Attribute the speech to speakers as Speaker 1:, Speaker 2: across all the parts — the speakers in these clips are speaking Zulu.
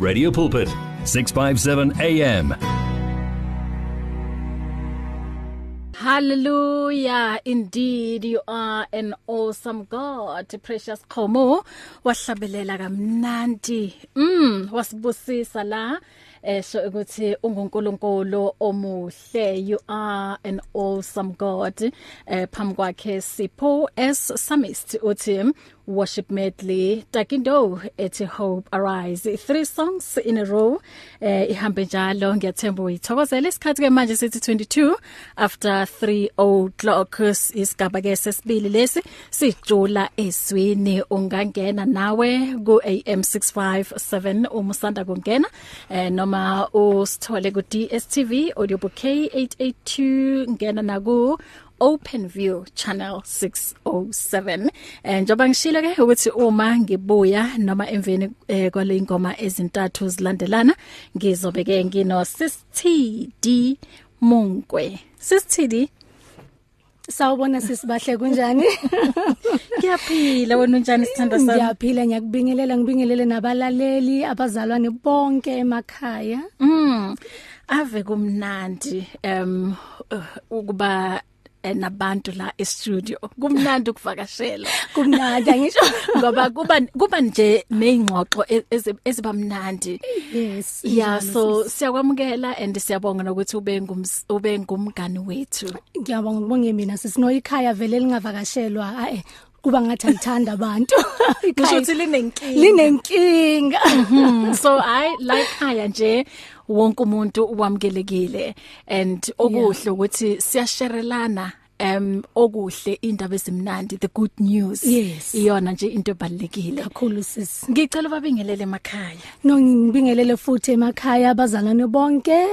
Speaker 1: Radio Pulpit, 657 AM.
Speaker 2: Hallelujah. Indeed you are an awesome God. Precious Khomo wahlabelela kamnandi. Mm wasibusisa la esho ukuthi ungunkulunkulu omuhle. You are an awesome God. Eh phambi kwakhe sipho S Summist uthi worship medley Takindo ethi Hope Arise three songs in a row eh ihambe njalo ngiyathemba uyithokozela isikhathi ke manje sithi 22 after 3 o'clock isigaba ke sesibili lesi sijula eswini ungangena nawe ku AM 657 umusanda kungena eh noma usithole ku DSTV audiobook K882 ngena naku Open View Channel 607 eh njoba ngishilo ke ukuthi uma ngibuya noma emveni eh, kwale ingoma ezintathu zilandelana ngizobe ke ngino SisTD Mungwe SisTD
Speaker 3: Sawubona sisibahle kunjani?
Speaker 2: Ngiyaphila wena unjani sithanda sami
Speaker 3: Ngiyaphila ngiyakubingelela ngibingelele nabalaleli abazalwane bonke emakhaya.
Speaker 2: Mm ave kumnandi um ukuba eh, nabantu la e-studio kumnandi ukuvakashela
Speaker 3: Kumnandi angisho.
Speaker 2: ngoba kuba kuba nje nezingxoxo e- ezi- ezibamnandi
Speaker 3: Yes.
Speaker 2: yeah
Speaker 3: njalo
Speaker 2: so
Speaker 3: sis.
Speaker 2: siyakwamukela and siyabonga nokuthi ube ngums- ube ngumngani wethu
Speaker 3: ngiyabonga ngibonge mina sisino ikhaya vele lingavakashelwa. Aye. Kuba ngathi alithanda abantu.
Speaker 2: ngisho
Speaker 3: Ikhaya
Speaker 2: ukuthi linenkinga
Speaker 3: linenkinga.
Speaker 2: Mm, so i like haya nje wonke umuntu uwamkelekile and okuhle ukuthi siyasherelana um okuhle indaba ezimnandi the good news
Speaker 3: Yes.
Speaker 2: iyona nje into ebalekile
Speaker 3: Kakhulu sis.
Speaker 2: ngicela babingelele emakhaya
Speaker 3: No ngibingelele futhi emakhaya abazalwane bonke.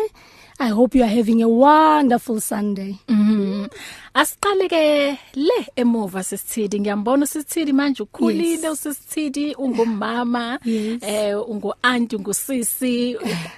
Speaker 3: I hope you are having a wonderful Sunday.
Speaker 2: Mhm. Asiqale ke le emuva sisithidi ngiyambona sisithidi manje ukhulile
Speaker 3: Yes.
Speaker 2: usisithidi ungumama
Speaker 3: Yes.
Speaker 2: eh ungu aunti ngusisi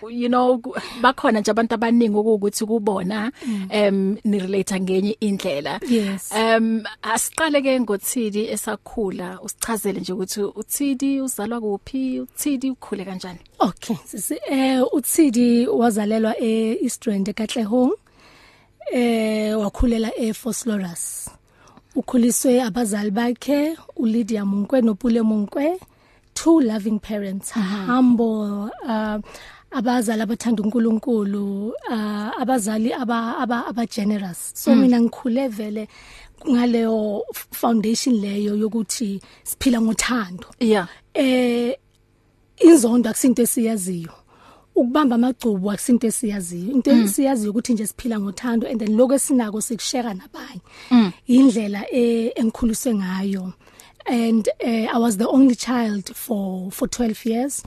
Speaker 2: you know ku- bakhona nje abantu abaningi ukuthi kubona em ni relate ngenye indlela
Speaker 3: Mm. Yes.
Speaker 2: em asiqale ke ngothidi esakhula usichazele nje ukuthi uthidi uzalwa kuphi uthidi ukhule kanjani
Speaker 3: Okay sisi eh uThidi wazalelwa eEastrand eKatlehong eh wakhulela eFoslorus ukhuliswe abazali bakhe uLydia Munkwe noPule Munkwe two loving parents humble uh, abazali abathanda uNkulunkulu uh, abazali aba, aba, aba generous so mina ngikhule vele ngaleyo f- foundation leyo yokuthi siphila ngothando
Speaker 2: yeah
Speaker 3: eh inzondo akusinto esiyaziyo ukubamba amagcubu akusinto esiyaziyo into esiyaziyo ukuthi nje siphila ngothando and then lokho esinako sikushare nabanye indlela eh, engikhuliswe ngayo and eh, i was the only child for for 12 years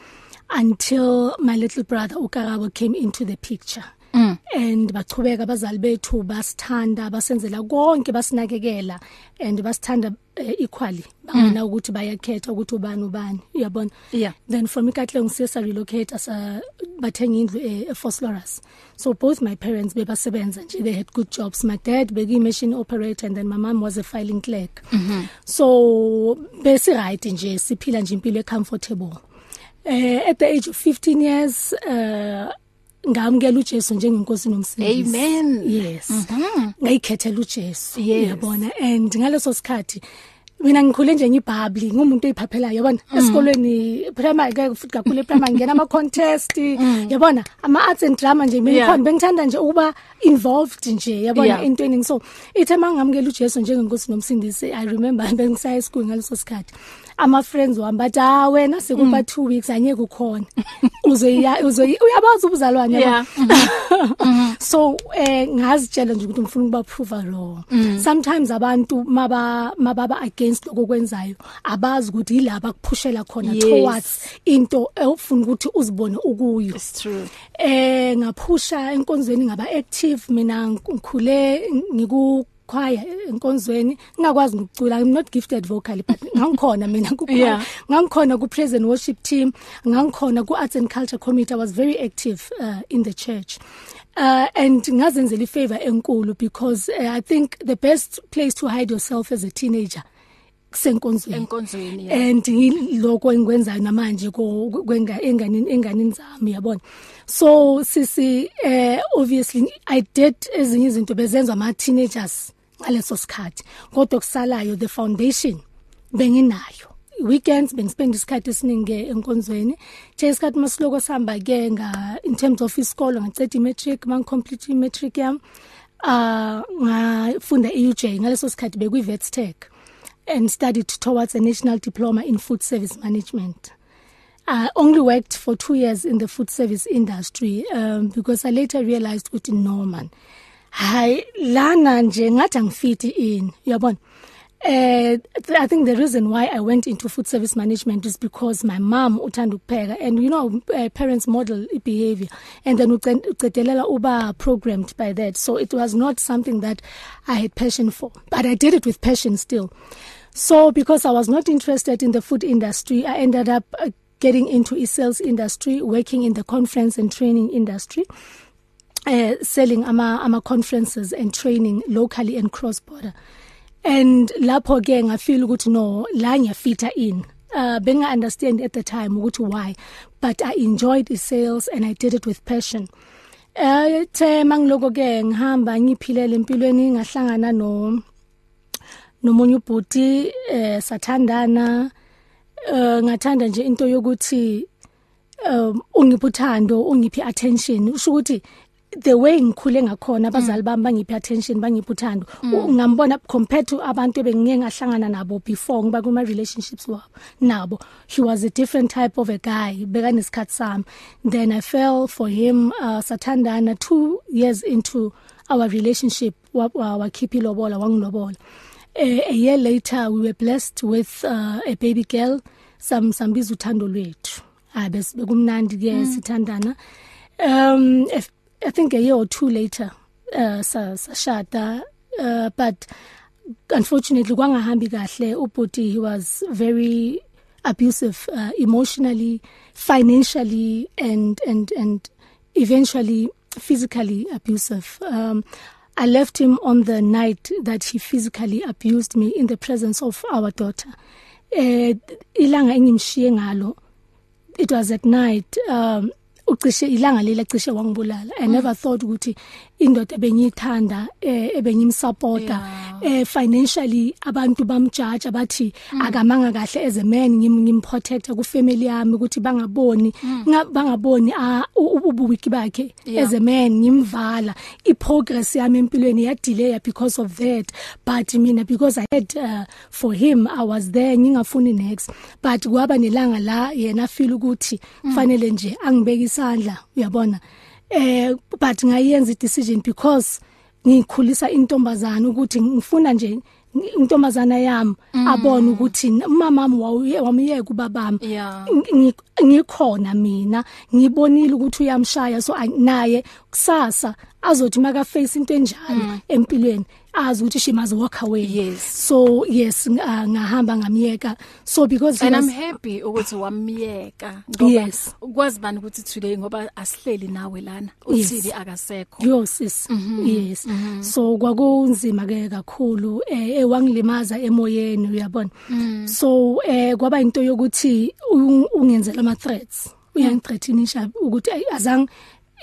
Speaker 3: until my little brother ukarabo came into the picture Mm. and bachubeka abazali bethu basithanda basenzela konke basinakekela and basithanda eh, equally bangena ukuthi bayakhetha ukuthi ubani ubani uyabona
Speaker 2: Yeah.
Speaker 3: then from ikatleng siya sa relocate as a bathenga indlu e- eFoslorus so both my parents bebasebenza nje they had good jobs my dad beki machine operator and then my mom was a filing clerk mm -hmm. so bese right nje siphila nje impilo ecomfortable eh at the age of 15 years uh ngamkela uJesu njengenkosi nomsindisi
Speaker 2: Amen.
Speaker 3: yes ngayikhethela uJesu
Speaker 2: Mm-hmm. Yes.
Speaker 3: uyabona and ngaleso sikhathi mina ngikhule nje ngibhabli ngumuntu oyiphaphelayo yabona
Speaker 2: Mm.
Speaker 3: esikolweni primary ke futhi kakhulu primary ngena ama contest yabona ama arts and drama nje mina
Speaker 2: Mm. Yeah.
Speaker 3: khona bengithanda nje ukuba involved nje
Speaker 2: Yeah.
Speaker 3: yabona entweni so ithe mangamukela uJesu njengenkosi nomsindisi i remember bengisaya esikolweni ngaleso sikhathi ama friends wami bathi ah wena sekuba
Speaker 2: Mm.
Speaker 3: 2 weeks anyeke ukhona uzoya uzoya uyabaza ubuzalwane yabona?
Speaker 2: yeah
Speaker 3: so eh ngazitshela nje ukuthi ngifuna ukuba prove wrong sometimes abantu maba mababa against lokwenzayo abazi ukuthi yilaba kuphushela khona
Speaker 2: Yes.
Speaker 3: towards into ufuna ukuthi uzibone ukuyo
Speaker 2: it's true
Speaker 3: eh ngaphusha enkonzweni ngaba active mina ngikhule ngiku choir enkonzweni ngingakwazi ukucula i'm not gifted vocally but ngangikhona mina ku
Speaker 2: Yeah.
Speaker 3: ngangikhona ku praise and worship team ngangikhona ku arts and culture committee i was very active uh, in the church uh and ngazenzela ifavor enkulu because uh, i think the best place to hide yourself as a teenager kusenkonzweni
Speaker 2: enkonzweni yeah.
Speaker 3: and lokho engikwenzayo namanje ko- kwenga- enganeni enganeni zami yabona so sisi eh obviously i did ezinye izinto bezenza ama teenagers ngaleso sikhathi kodwa kusalayo the foundation benginayo weekends bengispend isikhathi esiningi enkonzweni nje isikhathi masiloko sihamba ke nga in terms of isikolo ngicethe imatric mangicomplete imatric yami ah ngafunda EUJ ngaleso sikhathi bekwi Vets Tech and studied towards a national diploma in food service management. I only worked for 2 years in the food service industry um because I later realized ukuthi Norman hay lana nje ngathi angifiti in uyabona eh th- I think the reason why I went into food service management is because my mom uthanda ukupheka and you know uh, parents model behavior and then ucen- ucedelela uba programmed by that so it was not something that I had passion for but I did it with passion still so because I was not interested in the food industry I ended up uh, getting into e sales industry working in the conference and training industry uh, selling ama ama conferences and training locally and cross border and lapho ke ngafeel ukuthi no la ngiyafita in uh benga understand at the time ukuthi why but i enjoyed the sales and i did it with passion eh the mangiloko ke ngihamba ngiphilele empilweni ngahlangana no nomunye ubhuti eh sathandana eh ngathanda nje into yokuthi um ungibuthando ungiphi attention usho ukuthi the way ngikhule ngakhona abazali bami bangiphi attention bangibuthando ngambona compared to abantu ebengike ngahlangana nabo before ngiba kuma relationships wabo nabo he was a different type of a guy bekanesikhatsi sami then i fell for him uh, sathandana 2 years into our relationship wakhiphi lobola wangilobola a, a year later we were blessed with uh, a baby girl some sambiza uthando lwethu hayi bese bekumnandi ke sithandana um if, i think a year or two later uh, sa- sashada uh, but unfortunately kwangahambi kahle ubhuti he was very abusive uh, emotionally financially and and and eventually physically abusive um i left him on the night that he physically abused me in the presence of our daughter eh ilanga engimshiye ngalo it was at night um ucishe ilanga leli cishe wangibulala i never thought ukuthi indoda bengiyithanda eh, ebenyimsupporta eh financially abantu bamjudge abathi akamanga kahle as a man ngim ngimprotecta ku family yami ukuthi bangaboni nga- bangaboni ah, u- u- ubuwiki bakhe as a man ngimvala i progress yami empilweni ya delay because of that but mina because i had uh, for him i was there ngingafuni next but kwaba nelanga la yena feel ukuthi kufanele nje angibeke isandla uyabona eh but ngayenza i decision because ngikhulisa intombazana ukuthi ngifuna nje intombazana yami abone ukuthi mama wami wamiyeka kubabami
Speaker 2: Yeah.
Speaker 3: ngi- ngikhona mina ngibonile ukuthi uyamshaya so I- naye kusasa azothi maka face into enjalo empilweni azi ukuthi she must walk away
Speaker 2: Mm. Yes.
Speaker 3: so yes ng- ah, ngahamba ngamyeka so because he
Speaker 2: and i'm
Speaker 3: was-
Speaker 2: happy ukuthi wamiyeka
Speaker 3: Yes.
Speaker 2: kwazi bani ukuthi today ngoba asihleli nawe lana
Speaker 3: Yes.
Speaker 2: uthili akasekho
Speaker 3: yo sis yes so kwakunzima ke kakhulu eh ewangilimaza emoyeni uyabona so eh kwaba into yokuthi ung- ungenzela ama threats uyangithreathini nje ukuthi ayi, azange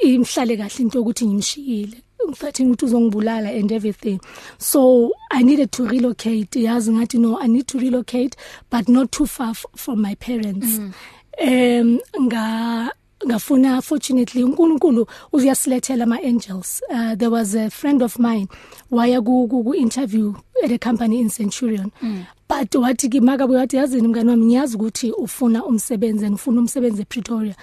Speaker 3: imhlale kahle into yokuthi ngimshiyile ngithreathini ukuthi uzongibulala and everything so i needed to relocate yazi ngathi no i need to relocate but not too far f- from my parents em nga ngafuna fortunately uNkulunkulu uyasilethela ama angels uh, there was a friend of mine waya ku ku- ku interview at a company in Centurion mm. but wathi kimaka wathi yazini mngani wami ngiyazi ukuthi ufuna umsebenzi and ufuna umsebenzi ePretoria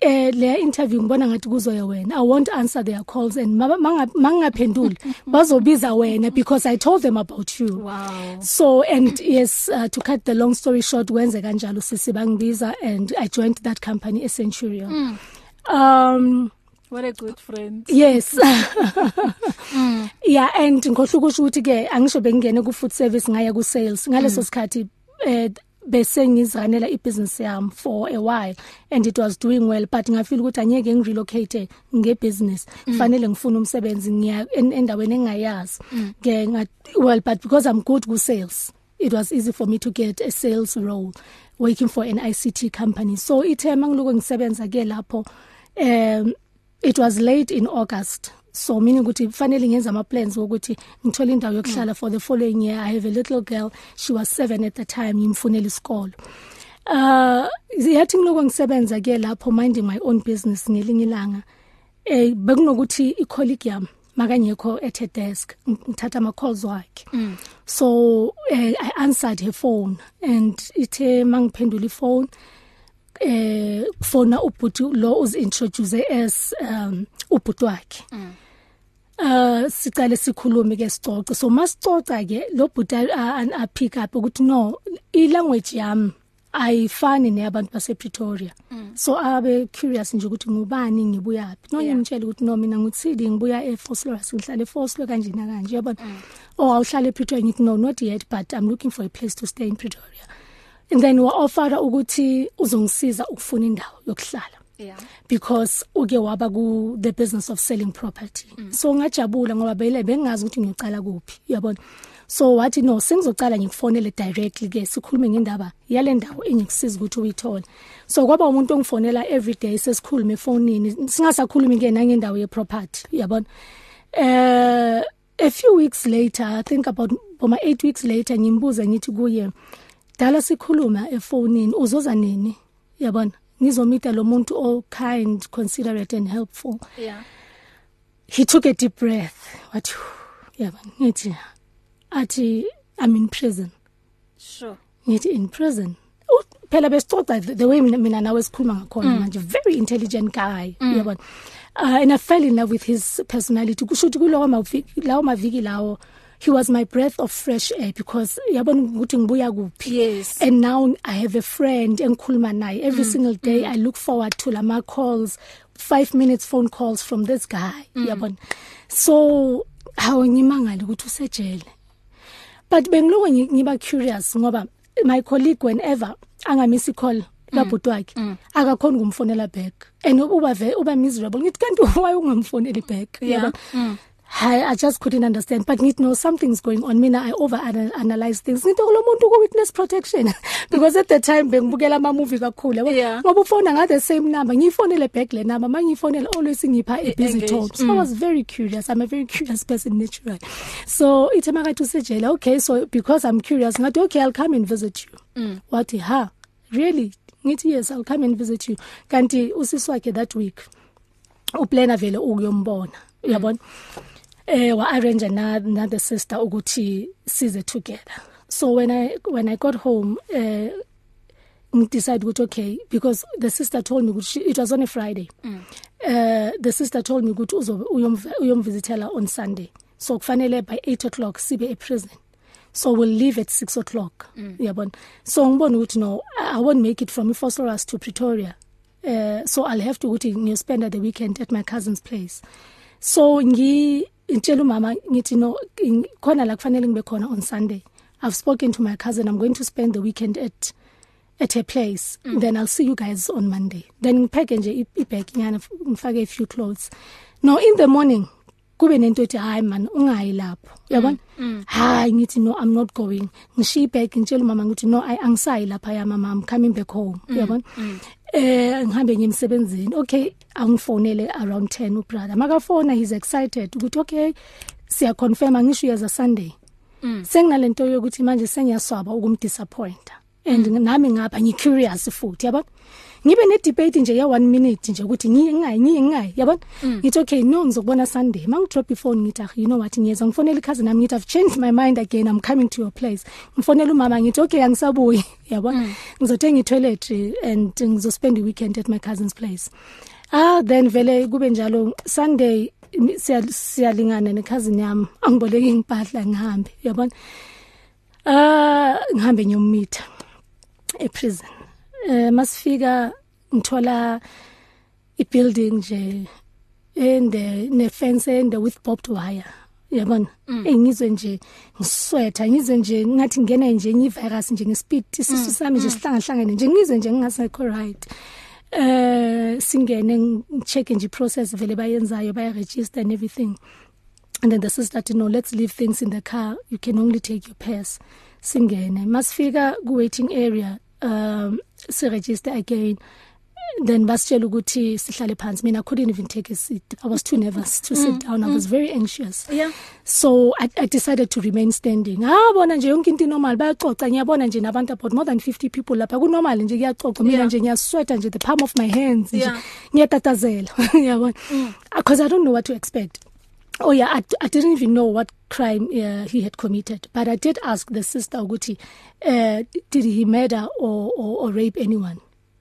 Speaker 3: eh le interview ngibona ngathi kuzoya wena i won't answer their calls and maba- manga- mangingaphenduli bazobiza wena because i told them about you
Speaker 2: wow
Speaker 3: so and yes uh, to cut the long story short wenze kanjalo sisi bangibiza and i joined that company essentially mm. um
Speaker 2: what a good friend
Speaker 3: yes yeah and ngikhohle ukusho ukuthi ke angisho bengingene ku food service ngaya ku sales ngaleso sikhathi eh, bese ngizranela ibusiness yami for a while and it was doing well but ngafeel ukuthi angeke ngirelocate ngebusiness kufanele ngifune umsebenzi ngiya en- endaweni engayazi ke nga- well but because i'm good ku sales it was easy for me to get a sales role working for an ICT company so ithe mangiloku ngisebenza ke lapho um it was late in august so meaning ukuthi fanele ngenza ama plans ukuthi ngithola indawo yokuhlala for the following year i have a little girl she was 7 at the time ngimfunela isikolo uh yathi ngiloku ngisebenza ke lapho minding my own business ngelinye ilanga eh bekunokuthi i colleague yami makanyekho at her desk ngithatha ama calls wakhe so eh, i answered her phone and ithe mangiphendula iphone eh fona ubhuti lo uz introduce as um ubhuti wakhe uh sicale sikhulume ke sicoce so masicoca ke lo bhuti a- a a pick up ukuthi no i language yami ayifani neyabantu base Pretoria so abe curious nje ukuthi ngubani ngibuyaphi no
Speaker 2: Mm. Yeah.
Speaker 3: ngimtshela ukuthi no mina ngitsidi ngibuya eForslorus ngihlala eForslorus kanje na kanje yabona
Speaker 2: Mm.
Speaker 3: oh awuhlala ePretoria ngithi no not yet but i'm looking for a place to stay in Pretoria and then wa offer ukuthi uzongisiza ukufuna indawo yokuhlala
Speaker 2: yeah
Speaker 3: because uke waba ku the business of selling property mm. so ngajabula ngoba bele bengazi ukuthi ngiyocala kuphi uyabona so wathi no sengizocala ngikufonele directly ke sikhulume ngendaba yale ndawo engikusiza ukuthi uyithole so kwaba umuntu ongifonela every day sesikhuluma efonini singasakhulumi ke nangendawo ye property uyabona eh a few weeks later i think about boma 8 weeks later ngimbuza ngithi kuye dala sikhuluma efonini uzoza nini yabona ngizomita lo muntu o kind considerate and helpful
Speaker 2: yeah
Speaker 3: he took a deep breath wathi "Whew." yabona ngithi athi i'm in prison
Speaker 2: sure
Speaker 3: ngithi in prison U- phela besicoca the the way mina mina nawe sikhuluma ngakhona manje very intelligent guy yabona uh, and i fell in love with his personality kushuthi kulowo maviki lawo maviki lawo he was my breath of fresh air because yabona ukuthi ngibuya kuphi
Speaker 2: yes
Speaker 3: and now i have a friend engikhuluma naye every mm. single day mm. i look forward to lama calls 5 minutes phone calls from this guy mm. yabona so awunyimangala ukuthi usejele but bengiloku ngi- ngiba curious ngoba my colleague whenever angamisi call kabhuti
Speaker 2: Mm,
Speaker 3: wakhe akakhona ukumfonela back and uba ve- uba miserable ngithi kanti why ungamfoneli back
Speaker 2: Yeah. mm.
Speaker 3: yabo I, i just couldn't understand but ngithi no something's going on mina i over analyze things ngithi kulo muntu ku witness protection because at the time bengibukela ama movie kakhulu yabo.
Speaker 2: Yeah.
Speaker 3: ngoba ufona nga the same number ngiyifonele back le number mangiyifonele always ngipha a busy
Speaker 2: Engaged.
Speaker 3: tone so i was very curious i'm a very curious person naturally so ithe makathi usejela okay so because i'm curious ngathi okay i'll come and visit you mm. wathi ha really ngithi yes i'll come and visit you kanti usisi wakhe that week uplana vele ukuyombona uyabona eh wa arrange na na the sister ukuthi size together so when i when i got home eh ngidecide ukuthi okay because the sister told me ukuthi she- it was on a friday mm. uh the sister told me ukuthi uzobe uyomv- uyomvisitela on sunday so kufanele by 8 o'clock sibe e prison so we'll leave at 6 o'clock mm. yabona so ngibona ukuthi no i I won't make it from Ifosoras to Pretoria uh so i'll have to ukuthi ngiyo spend the weekend at my cousin's place so ngi intshela umama ngithi no in- khona la kufanele ngibe khona on sunday i've spoken to my cousin i'm going to spend the weekend at at her place mm. then i'll see you guys on monday then ngipheke nje i- ibag nyana f- ngifake a few clothes no in the morning kube nento ethi hayi man ungayi lapho uyabona hayi ngithi no i'm not going ngishiya ibag ngitshela umama ngithi no ayi angisayi lapha ya mama i'm coming back home uyabona eh ngihambe ngiyemsebenzini okay angifonele around 10 ubrother makafona he's excited ukuthi okay siya confirm ngisho uyaza sunday senginalento yokuthi manje sengiyaswaba ukumdisappoint and nami ngapha ngi curious futhi yabona ngibe ne debate nje ya 1 minute nje ukuthi ngiye ngayi ngiye ngayi yabona ngithi okay no ngizokubona sunday mangidrop ifone ngithi ah you know what ngiyeza ngifonela ikhazini nami ngithi i've changed my mind again i'm coming to your place ngifonela umama ngithi okay angisabuyi yabona ngizothenga itoiletry and ngizospend i weekend at my cousin's place ah then vele kube njalo sunday imi- siya- siyalingana nekhazini yami angiboleki ngipahla ngihambe uyabona ah ngihambe ngiyomitha eprison eh masifika ngithola ibuilding nje ende uh, nefence ende with barbed wire yabona engizwe nje ngiswetha ngizwe nje ngathi ngena nje nyi virus nje ngespeed isisu sami nje sihlangahlangene nje ngizwe nje ngingasekho right eh singene ngicheck nje process vele bayenzayo baya register and everything and then the sister said no let's leave things in the car you can only take your purse singene masifika ku waiting area um si register again then basitshela ukuthi sihlale phansi mina I couldn't even take a seat i was too nervous to sit down i was very anxious
Speaker 2: Mm, Yeah.
Speaker 3: so i, I decided to remain standing ngabona nje yonke into normal bayaxoxa ngiyabona nje nabantu about more than 50 people lapha ku normal nje kuyaxoxa mina
Speaker 2: Yeah.
Speaker 3: nje ngiyasweta nje the palm of my hands nje
Speaker 2: Yeah.
Speaker 3: ngiyatatazela yabona because i don't know what to expect Oh yeah, I, I didn't even know what crime uh, he had committed, but I did ask the sister Uguti, uh, did he murder or, or, or rape anyone?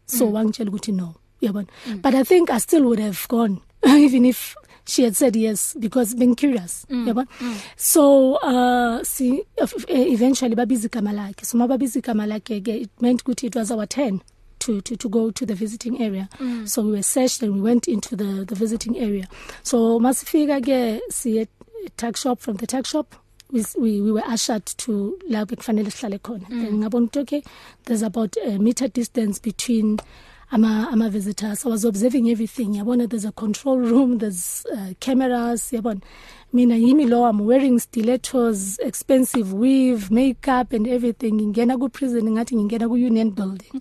Speaker 3: So mm. wangitshela ukuthi no. Yabona. Mm. But I think I still would have gone even if she had said yes because being curious. Mm. Yabona. Mm. So uh see eventually babiza igama lakhe. So mababiza igama lakhe ke it meant ukuthi it was our turn. to to to go to the visiting area mm. so we were searched and we went into the the visiting area so masifika ke siye tag shop from the tag shop we s- we, we were ushered to la bekufanele sihlale khona then ngabona ukuthi okay there's about a meter distance between ama ama visitors so i was observing everything yabona there's a control room there's uh, cameras yabona mina yimi lo i'm wearing stilettos expensive weave makeup and everything ngingena ku prison ngathi ngingena ku union building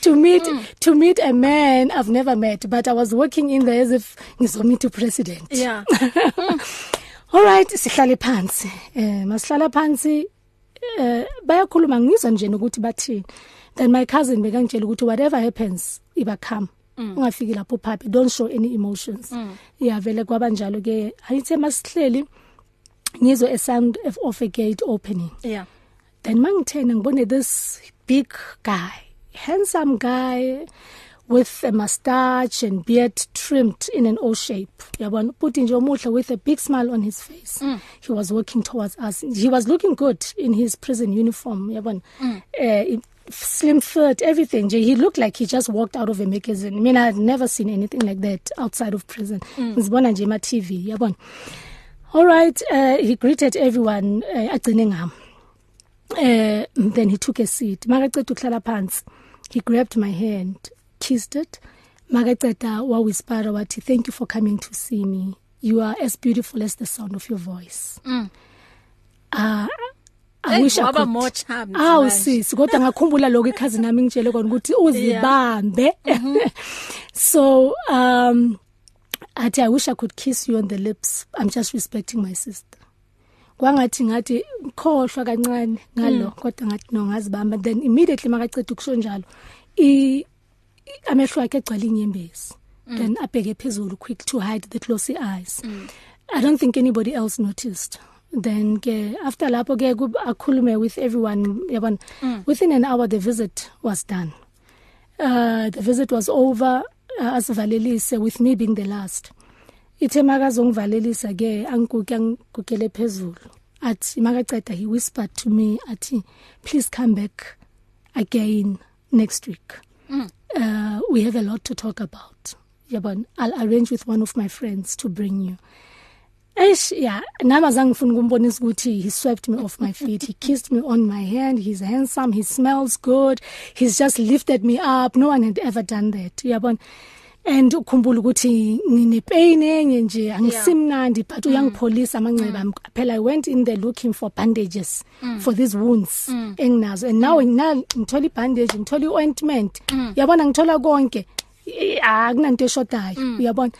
Speaker 3: to meet mm. to meet a man I've never met, but I was walking in there as if ngizomita president.
Speaker 2: Yeah.
Speaker 3: All right, sihlale phansi. Eh masihlala phansi eh bayakhuluma ngizwa nje ukuthi bathini. Then my cousin bekangitshela ukuthi whatever happens iba come. Ungafiki lapho phaphi don't show any emotions. Yeah vele kwabanjalo ke ayithe masihleli ngizwe a sound of- of a gate opening.
Speaker 2: Yeah.
Speaker 3: then mangithena ngibone this big guy handsome guy with a mustache and beard trimmed in an O shape yabona puti nje omuhle with a big smile on his face mm. he was walking towards us he was looking good in his prison uniform yabona mm. uh, slim fit everything nje he looked like he just walked out of a magazine mina i'd never seen anything like that outside of prison ngizibona nje ema TV yabona all right uh, he greeted everyone uh, agcine ngami eh then he took a seat makaceda ukuhlala phansi he grabbed my hand kissed it makaceda wa whisper wathi thank you for coming to see me you are as beautiful as the sound of your voice mm. uh, I
Speaker 2: Hey,
Speaker 3: wish I
Speaker 2: waba
Speaker 3: could Ah,
Speaker 2: more charmed
Speaker 3: Awu
Speaker 2: manje.
Speaker 3: sisi kodwa ngakhumbula lokho ikhazi nami ngitshele kona ukuthi uzibambe. So um athi I wish I could kiss you on the lips. I'm just respecting my sister. Kwangathi ngathi ukhohlwa kancane ngalo kodwa ngathi no ngazibamba then immediately makaceda ukusho njalo i i- amehlo akhe egcwele inyembezi. Then abheke phezulu quick to hide the glossy eyes. I don't think anybody else noticed. Then ke after lapho ke kub- akhulume with everyone yabona within an hour the visit was done. Uh the visit was over uh, asivalelise with me being the last. Ithe makazongivalelisa ke angiguke angigukele phezulu. Athi makaceda he whispered to me athi please come back again next week. uh, we have a lot to talk about. Yabon, I'll arrange with one of my friends to bring you. Eish, yeah, nami azange ngifuna ukumbonisa ukuthi he swept me off my feet. He kissed me on my hand. He's handsome, he smells good. He's just lifted me up. No one had ever done that. Yabon. And ukhumbula ukuthi ngine pain enye nje angisimnandi but uyangipholisa amanxeba ami. Phela I went in there looking for bandages for these wounds enginazo and now now ngithola ibandage, ngithola iointment. Yabona ngithola konke. Eh, akunanto eshodayo uyabona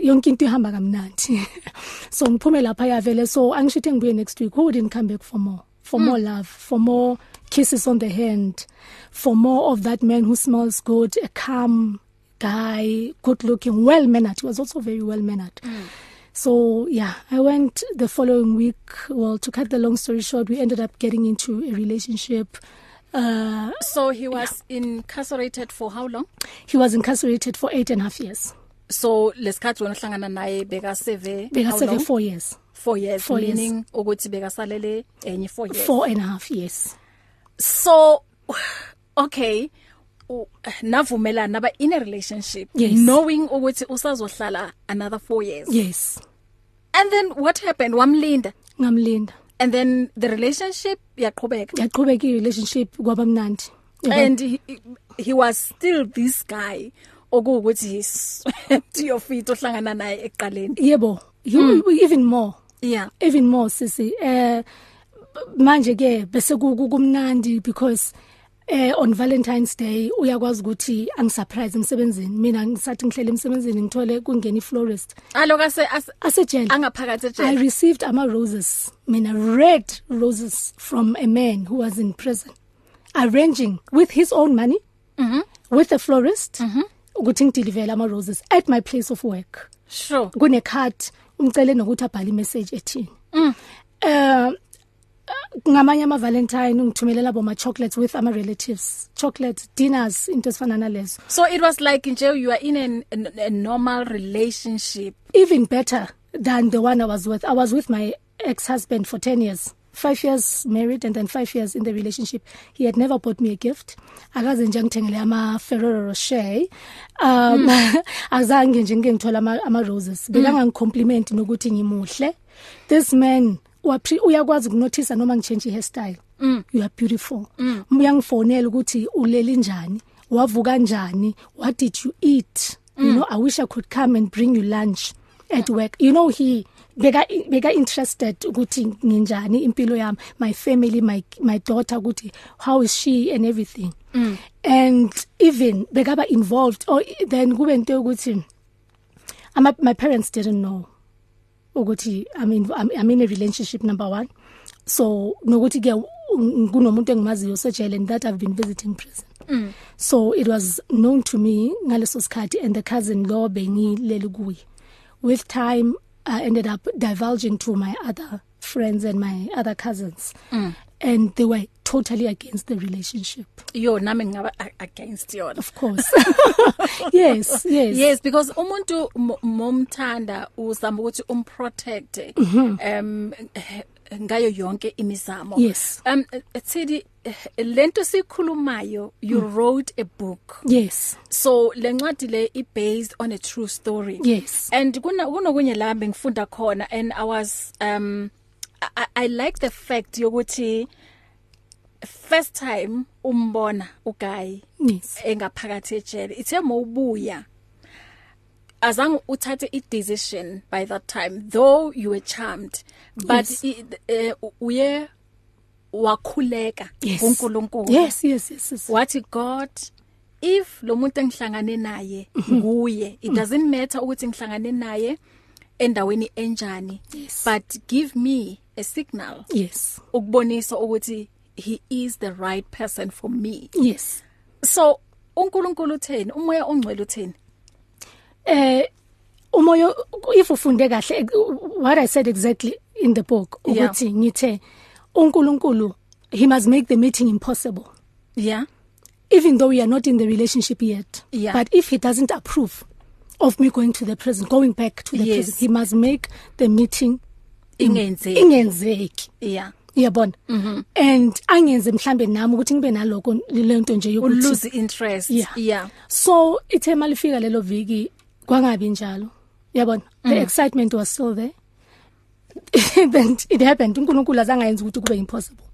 Speaker 3: yonke into ihamba kamnandi so ngiphume lapha yavele so angishithi ngibuye next week who wouldn't come back for more for mm. more love for more kisses on the hand for more of that man who smells good a calm guy good looking well mannered he was also very well mannered mm. So yeah, I went the following week. Well, to cut the long story short, we ended up getting into a relationship. Uh,
Speaker 2: So he was incarcerated for how long?
Speaker 3: he was incarcerated for eight and a half years.
Speaker 2: So lesikhathi wena uhlangana naye beka seve
Speaker 3: Beka
Speaker 2: how
Speaker 3: seven
Speaker 2: long?
Speaker 3: four years.
Speaker 2: 4 years
Speaker 3: Four years.
Speaker 2: meaning ukuthi bekasalele enye 4 years.
Speaker 3: Four and a half years.
Speaker 2: so okay u- navumelana aba in a relationship
Speaker 3: Yes.
Speaker 2: knowing ukuthi usazohlala another 4 years
Speaker 3: Yes.
Speaker 2: and then what happened wamlinda
Speaker 3: Ngamlinda.
Speaker 2: and then the relationship yaqhubeka
Speaker 3: Yaqhubeka irelationship kwabamnandi.
Speaker 2: and he, he was still this guy okuwukuthi he swept your feet ohlangana naye eqaleni Hmm.
Speaker 3: yebo, you mm. even more.
Speaker 2: yeah
Speaker 3: Even more sisi. Eh manje ke bese ku- ku- kumnandi because eh on Valentine's Day uyakwazi ukuthi angisurprise emsebenzini mina ngisathi ngihlele emsebenzini ngithole kungena iflorist
Speaker 2: aloka se as-
Speaker 3: asejele
Speaker 2: angaphakathi
Speaker 3: I
Speaker 2: ejele
Speaker 3: received ama roses, I mean, red roses from a man who was in prison, arranging with his own money,
Speaker 2: Mhm.
Speaker 3: with a florist, ukuthi ngideliver ama roses at my place of work.
Speaker 2: sure
Speaker 3: Kune card umcele nokuthi abhale imessage ethini. Eh ngamanye ama Valentine ngithumelela bo ma chocolates with ama relatives, chocolate dinners into esifana nalezo.
Speaker 2: so it was like nje you are in an, an, a normal relationship
Speaker 3: even better than the one I was with. I was with my ex-husband for 10 years. 5 years married and then 5 years in the relationship. He had never bought me a gift. Akaze nje ngithengele ama Ferrero Rocher. Um azange nje ngingithola ama ama roses. Bekangangicompliment nokuthi ngimuhle. This man waphi uyakwazi ukunothisa noma ngichange hairstyle. You are beautiful. Uyangifonela ukuthi ulele njani? Wavuka kanjani? What did you eat? you know i wish i could come and bring you lunch at work you know he beka beka interested ukuthi nginjani impilo yami my family my my daughter ukuthi how is she and everything mm. and even bekaba involved or then kube into ukuthi ama my parents didn't know ukuthi i mean i'm, I'm in a relationship number 1 so nokuthi ke kunomuntu engimaziyo sejele and that i've been visiting prison mm. so it was known to me ngaleso sikhathi and the cousin lo bengileli kuye with time i ended up divulging to my other friends and my other cousins mm. and they were totally against the relationship
Speaker 2: yo nami ngingaba a- against yona
Speaker 3: of course yes yes
Speaker 2: yes because umuntu mo- momthanda uzama ukuthi umprotect
Speaker 3: Mhm.
Speaker 2: um eh, ngayo yonke imizamo
Speaker 3: Yes.
Speaker 2: um tsidi lento sikhulumayo you
Speaker 3: Mm.
Speaker 2: wrote a book
Speaker 3: yes
Speaker 2: so lencwadi le i based on a true story
Speaker 3: Yes.
Speaker 2: and kuna kunokunye la bengifunda khona and i was um i, I- I like the fact yokuthi first time umbona ugayi
Speaker 3: yes
Speaker 2: engaphakathi ejele ithe mawubuya azange uthathe i decision by that time though you were charmed but
Speaker 3: Yes.
Speaker 2: i- eh, uye wakhuleka
Speaker 3: Yes.
Speaker 2: kuNkulunkulu
Speaker 3: yes yes yes, yes.
Speaker 2: wathi god if lo muntu engihlangane naye
Speaker 3: Mhm.
Speaker 2: nguye it doesn't matter ukuthi ngihlangane naye endaweni enjani
Speaker 3: Yes.
Speaker 2: but give me a signal
Speaker 3: yes
Speaker 2: ukubonisa ukuthi he is the right person for me
Speaker 3: yes
Speaker 2: so uNkulunkulu utheni umoya ongcwele utheni
Speaker 3: eh umoya if ufunde kahle eh, what i said exactly in the book
Speaker 2: Yeah.
Speaker 3: ukuthi ngithe uNkulunkulu he must make the meeting impossible
Speaker 2: yeah
Speaker 3: even though we are not in the relationship yet
Speaker 2: Yeah.
Speaker 3: but if he doesn't approve of me going to the prison going back to the
Speaker 2: Yes.
Speaker 3: prison he must make the meeting
Speaker 2: ingenzeki
Speaker 3: ingenzeki
Speaker 2: yeah
Speaker 3: uyabona
Speaker 2: Mm-hmm.
Speaker 3: and angenze mhlambe nami ukuthi ngibe naloko lento nje yokuthi
Speaker 2: ulose interest
Speaker 3: Yeah.
Speaker 2: yeah
Speaker 3: so ithe malifika lelo viki kwangabi njalo yabona the excitement was still there then it happened uNkulunkulu azangayenza ukuthi kube impossible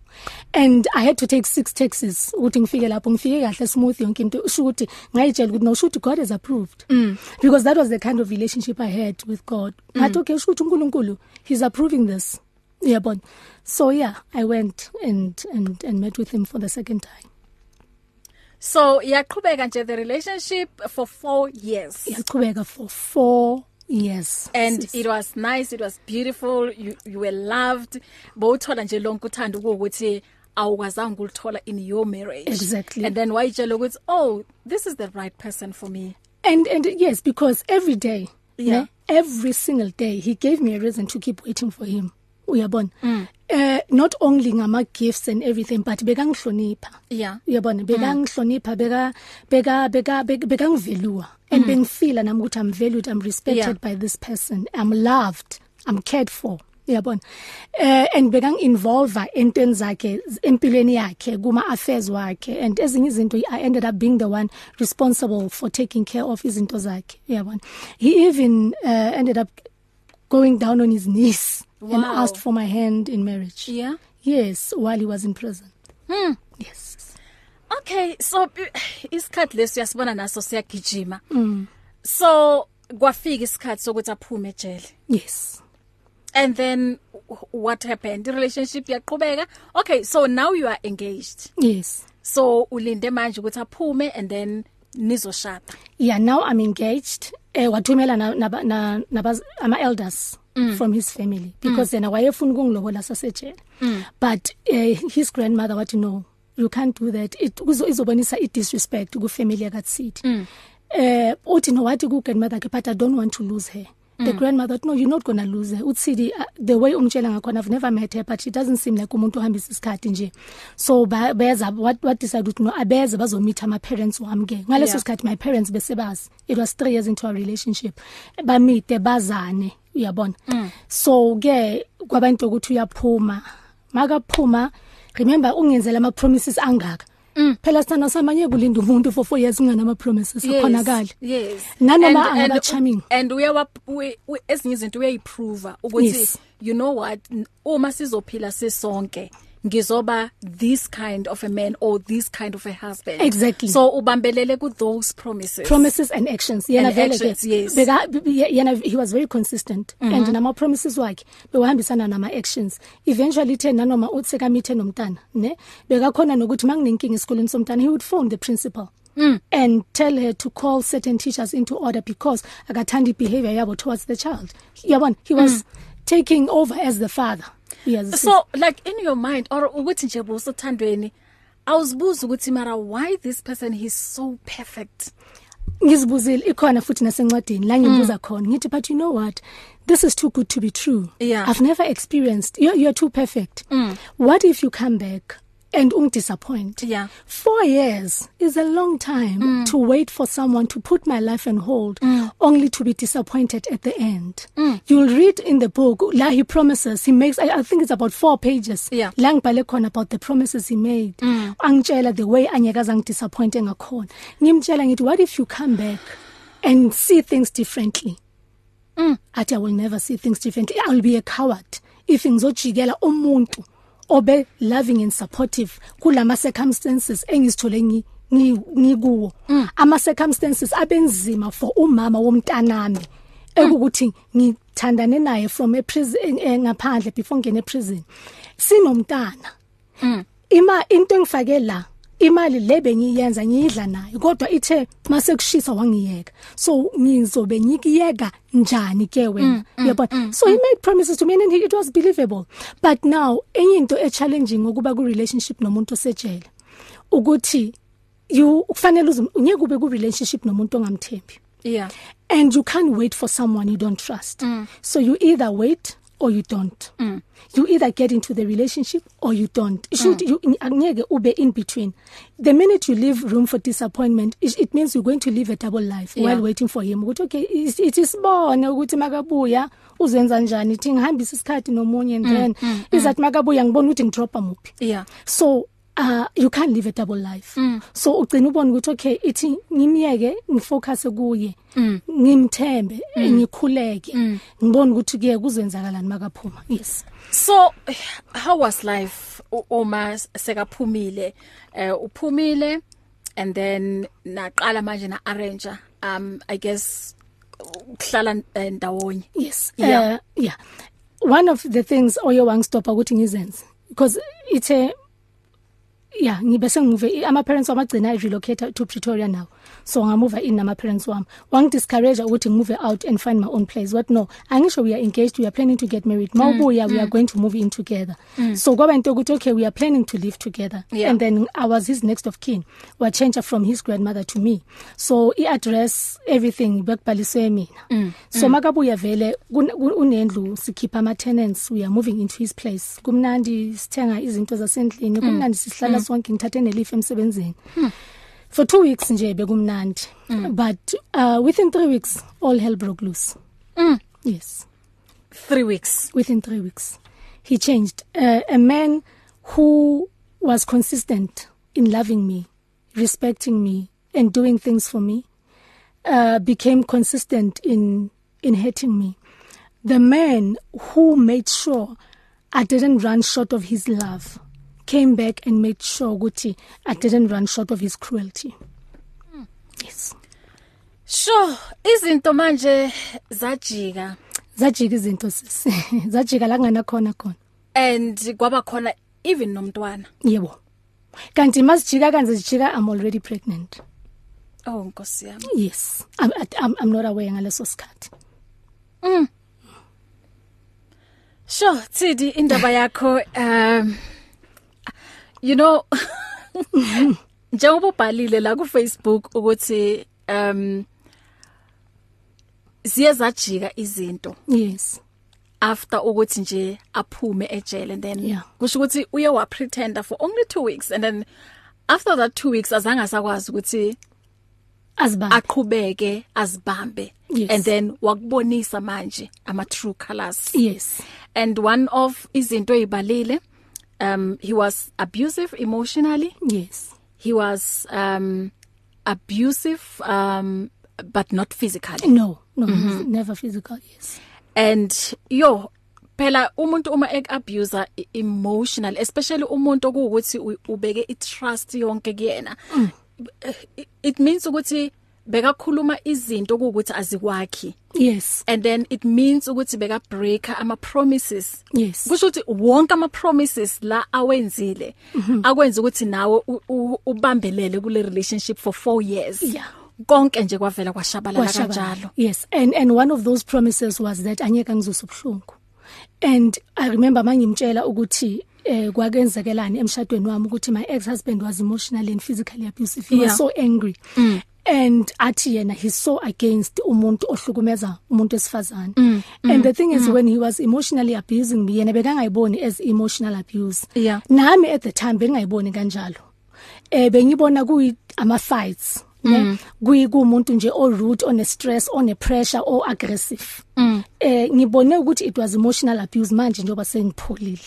Speaker 3: and i had to take six taxis ukuthi ngifike lapho ngifike kahle smooth yonke into usho ukuthi ngayitshela ukuthi no shoot god has approved mm. because that was the kind of relationship i had with god mm. but okay shoot uNkulunkulu he's approving this yabona so yeah i went and and and met with him for the second time
Speaker 2: so yaqhubeka nje the relationship for 4 years
Speaker 3: yaqhubeka for 4 years
Speaker 2: and yes. it was nice it was beautiful you you were loved bowuthola nje lonke uthando ukuthi awukazange ulithola in your marriage
Speaker 3: Exactly.
Speaker 2: and then wayitshela ukuthi oh this is the right person for me
Speaker 3: and and yes because every day
Speaker 2: Yeah.
Speaker 3: ne, every single day he gave me a reason to keep waiting for him uyabona mm. uh, not only ngama gifts and everything but bekangihlonipha
Speaker 2: yeah
Speaker 3: uyabona bekangihlonipha beka beka beka bek- bekangivelua and bengifila nami ukuthi I'm valued I'm respected
Speaker 2: Mm. Yeah.
Speaker 3: by this person I'm loved I'm cared for uyabona eh and bekang involve entweni zakhe empilweni yakhe kuma affairs wakhe and ezinye izinto I ended up being the one responsible for taking care of izinto zakhe uyabona he even uh, ended up going down on his knees and
Speaker 2: Wow.
Speaker 3: asked for my hand in marriage
Speaker 2: yeah
Speaker 3: yes while he was in prison hmm yes
Speaker 2: Okay, so isikhathi lesi uyasibona naso siyagijima. Mm. So kwafika isikhathi sokuthi aphume ejele.
Speaker 3: Yes.
Speaker 2: and then wh- what happened the relationship yaqhubeka okay so now you are engaged
Speaker 3: yes
Speaker 2: so ulinde manje ukuthi aphume and then nizoshada
Speaker 3: yeah now i'm engaged eh wathumela na- naba- na- nabaz- ama elders from his family because yena wayefuna ukungilobola sasejele but eh, his grandmother wathi no you can't do that it kuzo- izobonisa i disrespect ku family yakatsithi eh uthi no wathi ku grandmother ke but i don't want to lose her the grandmother wathi, no you're not going to lose her utsidi uh, the way umtshela ngakhona i've never met her but she doesn't seem like umuntu ohambisa isikhathi nje so ba- beza what what decided ukuthi no abeze bazomeet ama parents wami ke ngaleso
Speaker 2: Yeah.
Speaker 3: sikhathi my parents besebazi it was 3 years into our relationship bamite bazane uyabona so ke kwabantu ukuthi uyaphuma makaphuma remember ungenzela ama promises angaka phela sithanda samanye kulinda umuntu for 4 years ngana ama promises akhonakala
Speaker 2: yes
Speaker 3: nanoma
Speaker 2: And- and-
Speaker 3: angabachaming
Speaker 2: and uyawa we- we- ezinye izinto uyayiprova ukuthi
Speaker 3: Yes.
Speaker 2: you know what n- uma sizophila sisonke ngizoba this kind of a man or this kind of a husband
Speaker 3: Exactly.
Speaker 2: so ubambelele ku those promises
Speaker 3: promises and actions yena
Speaker 2: And
Speaker 3: vele
Speaker 2: actions, yes. Mm-hmm.
Speaker 3: ke beka b- b- yena he was very consistent and nama promises wakhe bewahambisana nama actions eventually the nanoma uthe kamithe nomntana ne bekakhona nokuthi manginenkingi esikoleni somntana he would phone the principal
Speaker 2: Mm.
Speaker 3: and tell her to call certain teachers into order because akathandi behavior yabo towards the child yabona he was taking over as the father yes
Speaker 2: Mm. so like in your mind or ukuthi nje busuthandweni awuzibuza ukuthi mara why this person he's so perfect
Speaker 3: ngizibuzile ikhona futhi nasencwadini la
Speaker 2: Mm.
Speaker 3: ngibuza khona ngithi but you know what this is too good to be true
Speaker 2: Yeah.
Speaker 3: i've never experienced you you're too perfect mm. what if you come back and ungidisappoint
Speaker 2: Yeah.
Speaker 3: 4 years is a long time mm. to wait for someone to put my life on hold mm. only to be disappointed at the end mm. you'll read in the book la he promises he makes i, I think it's about 4 pages
Speaker 2: Yeah.
Speaker 3: la ngibhale khona about the promises he made mm. angitshela the way anyekaza ngidisappointe ngakhona ngimtshela ngithi what if you come back and see things differently mm. athi i will never see things differently i'll be a coward if ngizojikela umuntu obe loving and supportive kulama circumstances engizithole ngi ngi- ngikuwo ama circumstances abenzima for umama womntanami ekukuthi ngithandane naye from a prison eh, eh, ngaphandle before ngene prison sinomntana ima into engifake la imali lebe ngiyenza ngiyidla naye kodwa ithe mase kushisa wangiyeka so ngizobe ngikiyeka njani ke wena yabona so he made promises to me and he, it was believable but now enye into e challenging ukuba ku relationship nomuntu osejele ukuthi you kufanele uze- ungeke ube ku relationship nomuntu ongamthembi
Speaker 2: yeah
Speaker 3: and you can't wait for someone you don't trust mm. so you either wait or you don't mm. you either get into the relationship or you don't should mm. you angeke ube in between the minute you leave room for disappointment it, it means you're going to live a double life yeah. while waiting for him ukuthi okay is- it is bona ukuthi makabuya uzenza njani ithi ngihambisa isikhathi nomunye and then izathi makabuya ngibona ukuthi ngidropa muphi
Speaker 2: yeah
Speaker 3: so uh you can't live a double life mm. so ugcina ubona ukuthi okay ithi ngimiyeke ngifocus kuye ngimthembe ngikhuleke ngibone ukuthi kuye kuzenzakalani makaphuma yes
Speaker 2: So how was life u- uma sekaphumile eh uphumile and then naqala manje na arrange um i guess ukuhlala eh, ndawonye
Speaker 3: yes
Speaker 2: Yeah.
Speaker 3: uh, yeah one of the things oyowangstopha ukuthi ngizenze because ithe yeah ngibe sengimuve ama parents wamagcina i relocate to Pretoria now so ngamuva in nama parents wami wangidiscourage ukuthi ngimuve out and find my own place what no angisho we are engaged we are planning to get married mawubuya mm, we are going to move in together mm. so kwaba into ukuthi okay we are planning to live together
Speaker 2: Yeah.
Speaker 3: and then I was his next of kin wa change from his grandmother to me so i address everything bekubhaliswe mina mm, so mm. makabuya vele kun- kun- unendlu sikhipha ama tenants we are moving into his place kumnandi sithenga izinto zasendlini kumnandi sihlala sonke ngithathe nelife emsebenzini for 2 weeks nje bekumnandi but uh within 3 weeks all hell broke loose
Speaker 2: Mm.
Speaker 3: yes
Speaker 2: 3 weeks
Speaker 3: within 3 weeks he changed uh, a man who was consistent in loving me respecting me and doing things for me uh became consistent in in hurting me the man who made sure i didn't run short of his love came back and made sure ukuthi i didn't run short of his cruelty yes
Speaker 2: sure izinto manje zajika
Speaker 3: zajika izinto sisi zajika la kungena khona khona
Speaker 2: and kwaba khona even nomntwana
Speaker 3: yebo kanti masijika kanje sijika i'm already pregnant
Speaker 2: oh nkosi yami
Speaker 3: yes i'm i'm, I'm not aware ngaleso sikhathi
Speaker 2: sure tsidi indaba yakho um you know njengoba ubhalile la ku Facebook ukuthi um siyezajika izinto
Speaker 3: yes
Speaker 2: after ukuthi nje aphume ejele and then
Speaker 3: Yeah.
Speaker 2: kusho ukuthi uye wa pretender for only 2 weeks and then after that 2 weeks azange sakwazi ukuthi
Speaker 3: azibani
Speaker 2: aqhubeke azibambe
Speaker 3: Yes.
Speaker 2: and then wakubonisa manje ama true colors
Speaker 3: yes
Speaker 2: and one of izinto ezibalile um he was abusive emotionally
Speaker 3: yes
Speaker 2: he was um abusive um but not physically
Speaker 3: no no mm -hmm. never physical yes
Speaker 2: and yo phela umuntu uma ek abuser i- emotional especially umuntu okuwukuthi u- ubeke i trust yonke kuyena I- it means ukuthi bekakhuluma izinto ukuthi azikwakhi
Speaker 3: yes
Speaker 2: and then it means ukuthi beka breaker ama promises
Speaker 3: yes
Speaker 2: kusho ukuthi wonke ama promises la awenzile
Speaker 3: Mhm.
Speaker 2: akwenza ukuthi nawe u- u- ubambelele kule relationship for 4 years
Speaker 3: Yeah.
Speaker 2: konke nje kwavela kwashabalala
Speaker 3: Kwashabalala.
Speaker 2: kanjalo
Speaker 3: yes and and one of those promises was that anyeka ngizosubhlungu and i remember mangimtshela ukuthi eh kwakenzekelani emshadweni wami ukuthi my ex husband was emotionally and physically abusive he
Speaker 2: Yeah.
Speaker 3: was so angry mm. and athi yena he's so against umuntu ohlukumeza umuntu esifazana mm. and mm. the thing is mm. when he was emotionally abusing me yena bekangayiboni as emotional abuse
Speaker 2: Yeah.
Speaker 3: nami at the time bengayiboni kanjalo eh bengibona kuyi ama fights ne kuyi kumuntu nje o rude one stress one pressure o aggressive eh ngibone ukuthi it was emotional abuse manje njoba sengipholile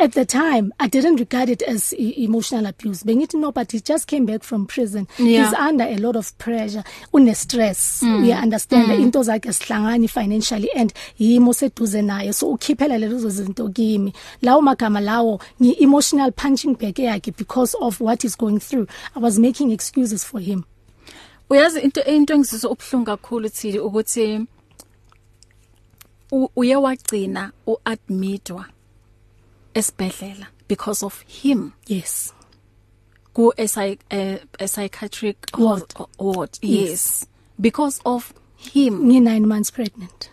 Speaker 3: at the time i didn't regard it as e emotional abuse bengithi no but he just came back from prison
Speaker 2: Yeah.
Speaker 3: he's under a lot of pressure une stress mm. yeah understand mm. into zakhe sihlangani financially and yimo seduze naye so ukhiphela lezo zinto kimi lawo magama lawo ngi emotional punching bag yakhe because of what he's going through i was making excuses for him
Speaker 2: uyazi into into engizizwa ubhlungu kakhulu thili ukuthi u- uye wagcina uadmitwa esibhedlela because of him
Speaker 3: yes
Speaker 2: ku a, psych, a, a psychiatric
Speaker 3: Ward.
Speaker 2: ho- ward yes because of him
Speaker 3: ngi 9 months pregnant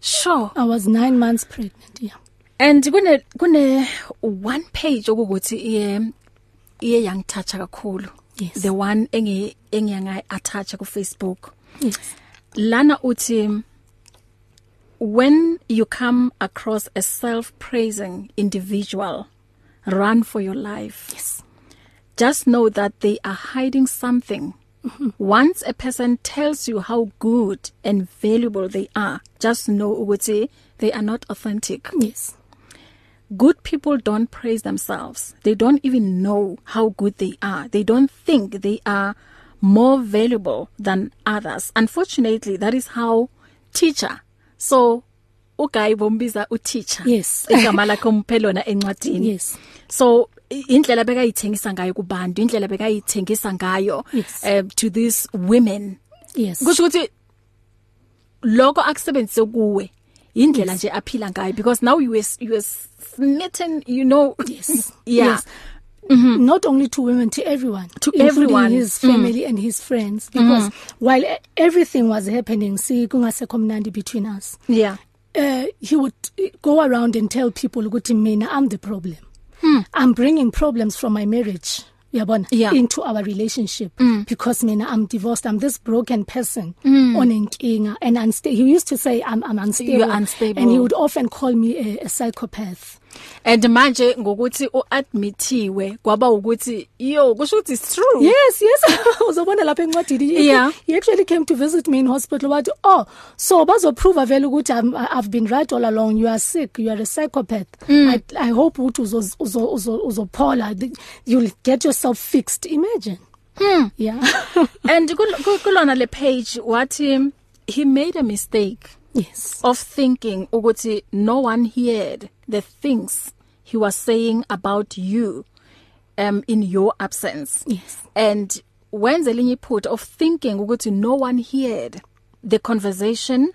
Speaker 2: sure
Speaker 3: i was 9 months pregnant yeah
Speaker 2: and kune kune one page okuthi iye iye yangithatha kakhulu
Speaker 3: Yes.
Speaker 2: the one engi engiyanga attach ku Facebook
Speaker 3: yes
Speaker 2: lana uthi when you come across a self-praising individual run for your life
Speaker 3: Yes.
Speaker 2: just know that they are hiding something
Speaker 3: Mm-hmm.
Speaker 2: once a person tells you how good and valuable they are just know ukuthi they are not authentic
Speaker 3: yes
Speaker 2: good people don't praise themselves they don't even know how good they are they don't think they are more valuable than others unfortunately that is how teacher so ugayi bombiza uteacher
Speaker 3: Yes.
Speaker 2: igama lakhe umphelona encwadini
Speaker 3: Yes.
Speaker 2: so i- indlela bekayithengisa ngayo kubantu indlela bekayithengisa ngayo
Speaker 3: Yes.
Speaker 2: eh, to these women
Speaker 3: yes
Speaker 2: kusho ukuthi lokho akusebenzise kuwe indlela nje aphila ngayo because now you were you were smitten you know
Speaker 3: Yes.
Speaker 2: yeah
Speaker 3: Yes. mm-hmm. not only to women to everyone
Speaker 2: To
Speaker 3: including
Speaker 2: everyone.
Speaker 3: his family mm. and his friends because mm. while e- everything was happening see kungasekho mnandi between us
Speaker 2: yeah
Speaker 3: uh, he would uh, go around and tell people ukuthi mina I'm the problem mm. I'm bringing problems from my marriage yabona
Speaker 2: Yeah.
Speaker 3: into our relationship mm. because mina I'm divorced I'm this broken person mm. on inkinga and unstable he used to say I'm I'm unstable
Speaker 2: unstable.
Speaker 3: and he would often call me a, a psychopath
Speaker 2: and manje ngokuthi uadmitiwe kwaba ukuthi yo kusho ukuthi it's true
Speaker 3: Yes, yes. Uzobona lapha encwadini. He-
Speaker 2: Yeah.
Speaker 3: He actually came to visit me in hospital wathi, "Oh, so bazoprove vele ukuthi I'm- I- I've been right all along. You are sick. You are a psychopath. Mm. I I hope uthi uzo uzo uzo uzophola. The- You'll get yourself fixed. Imagine." Hmm. Yeah.
Speaker 2: and kul- kul- kulona le page wathi he made a mistake
Speaker 3: yes.
Speaker 2: of thinking ukuthi no one heard the things he was saying about you um in your absence
Speaker 3: Yes.
Speaker 2: and wenze linye iphutha of thinking ukuthi no one heard the conversation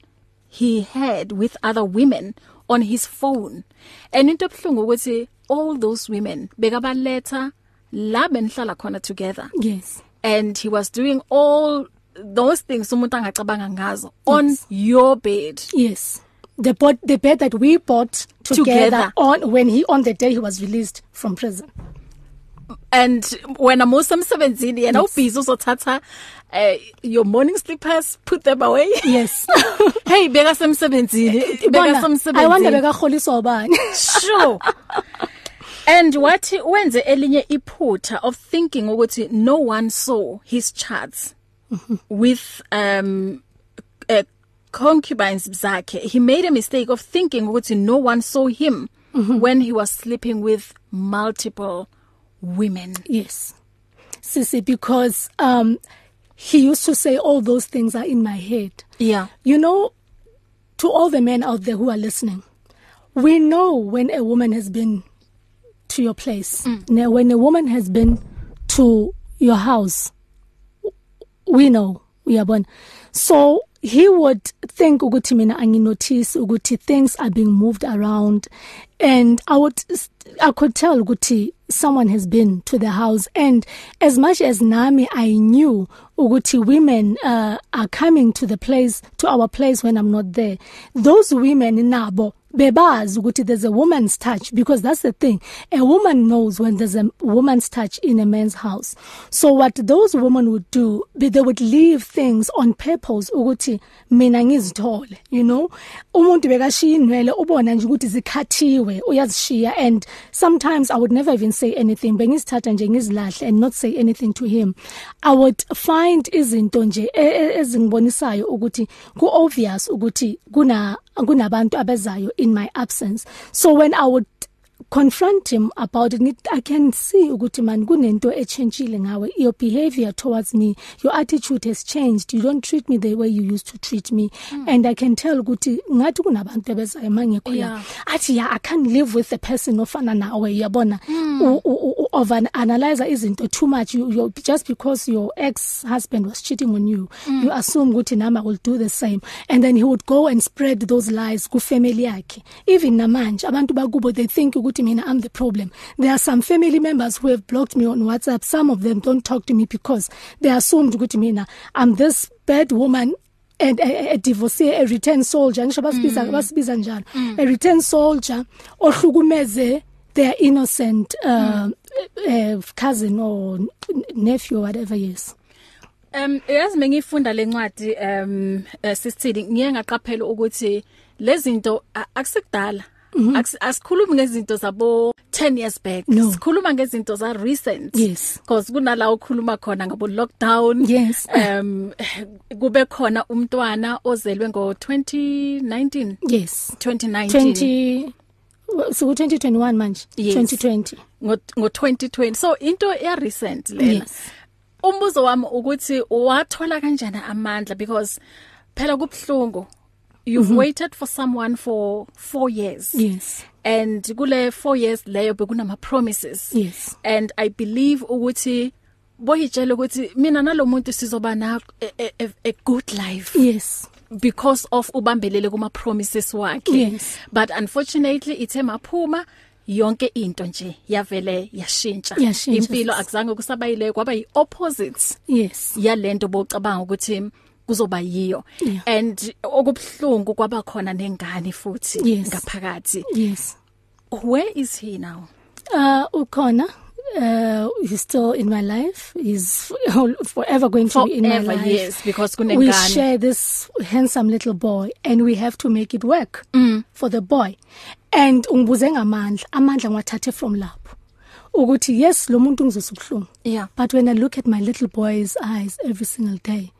Speaker 2: he had with other women on his phone and into ebhlungu ukuthi all those women bekabaletha la benhlala khona together
Speaker 3: yes
Speaker 2: and he was doing all those things umuntu angacabanga ngazo on your bed
Speaker 3: yes the bot the bed that we bought together,
Speaker 2: Together.
Speaker 3: together on when he on the day he was released from prison
Speaker 2: and wena musemsebenzini yena ubhizi uzothatha eh, your morning slippers put them away
Speaker 3: yes
Speaker 2: hey beka semsebenzini beka
Speaker 3: Eh, Bona, i wonder
Speaker 2: semsebenzini
Speaker 3: bekaholiswa ubani
Speaker 2: sure and wathi wenze elinye iphutha of thinking ukuthi no one saw his charts with um uh, concubines zakhe he made a mistake of thinking ukuthi no one saw him
Speaker 3: Mhm.
Speaker 2: when he was sleeping with multiple women
Speaker 3: Yes. Sisi, because um, he used to say all those things are in my head.
Speaker 2: yeah
Speaker 3: You know, to all the men out there who are listening, we know when a woman has been to your place, now, when a woman has been to your house, we know we are born. So he would think ukuthi mina anginotice ukuthi things are being moved around and I would I could tell ukuthi someone has been to the house and as much as nami I knew ukuthi women uh, are coming to the place to our place when I'm not there those women nabo bebazi ukuthi there's a woman's touch because that's the thing a woman knows when there's a woman's touch in a man's house so what those women would do be- they would leave things on purpose ukuthi mina ngizithole you know umuntu bekashiya inwele ubona nje ukuthi zikhathiwe uyazishiya and sometimes i would never even say anything bengizithatha nje ngizilahle and not say anything to him i would find izinto nje e- e- ezingibonisayo ukuthi ku obvious ukuthi kuna kunabantu abezayo in my absence so when i would confront him about it ngithi, i can see ukuthi man kunento echangile ngawe your behavior towards me your attitude has changed you don't treat me the way you used to treat me mm. and i can tell ukuthi ngathi kunabantu abezayo mangekho
Speaker 2: Yeah.
Speaker 3: la athi yeah i can't live with a person ofana nawe uyabona over analyze izinto too much you, you just because your ex husband was cheating on you mm. you assume ukuthi nami I will do the same and then he would go and spread those lies ku family yakhe even namanje abantu bakubo they think ukuthi mina I'm the problem there are some family members who have blocked me on WhatsApp some of them don't talk to me because they assumed ukuthi mina I'm this bad woman and a, a- a divorcee a return soldier ngisho basibiza basibiza njalo a return soldier ohlukumeze their innocent uh, uh, cousin or n- nephew or whatever yes
Speaker 2: Um yazi mengifunda lencwadi um eh, sisithini ngiye ngaqaphela ukuthi lezinto a- akusekudala Akusi- asikhulumi ngezinto zabo 10 years back
Speaker 3: Mhm. No.
Speaker 2: sikhuluma ngezinto za recent
Speaker 3: Yes.
Speaker 2: because kunala ukhuluma khona ngabo lockdown
Speaker 3: Yes.
Speaker 2: um kube khona umntwana ozelwe ngo 2019
Speaker 3: yes
Speaker 2: 2019
Speaker 3: 20 so 2021 manje
Speaker 2: Yes.
Speaker 3: 2020
Speaker 2: ngo ngo 2020 so into ya recent lena
Speaker 3: Yes.
Speaker 2: umbuzo wami ukuthi wathola kanjani amandla because phela kubhlungu you've mm -hmm. waited for someone for 4 years
Speaker 3: Mhm. yes
Speaker 2: and kule 4 years leyo bekunama promises
Speaker 3: Yes.
Speaker 2: and i believe ukuthi boyitshela ukuthi mina nalomuntu sizoba na a, a, a- a good life
Speaker 3: yes
Speaker 2: because of ubambelele kuma promises wakhe
Speaker 3: Yes.
Speaker 2: but unfortunately ithe maphuma yonke into nje yavele yashintsha
Speaker 3: Yashintsha,
Speaker 2: impilo
Speaker 3: sis.
Speaker 2: akuzange kusabayile kwaba yiopposites
Speaker 3: yes
Speaker 2: yalento bocabanga ukuthi kuzoba yiyo
Speaker 3: Yeah.
Speaker 2: and okubhlungu kwaba khona nengane futhi
Speaker 3: Yes.
Speaker 2: ngaphakathi
Speaker 3: yes
Speaker 2: where is he now
Speaker 3: uh ukhona uh he's still in my life he's forever going to be in my
Speaker 2: Forever,
Speaker 3: life
Speaker 2: yes, because kunengane.
Speaker 3: we share this handsome little boy and we have to make it work mm. for the boy and ungibuze ngamandla amandla ngiwathathe from lapho ukuthi yes lo muntu ngizwe ubhlungu
Speaker 2: yeah
Speaker 3: but when i look at my little boy's eyes every single day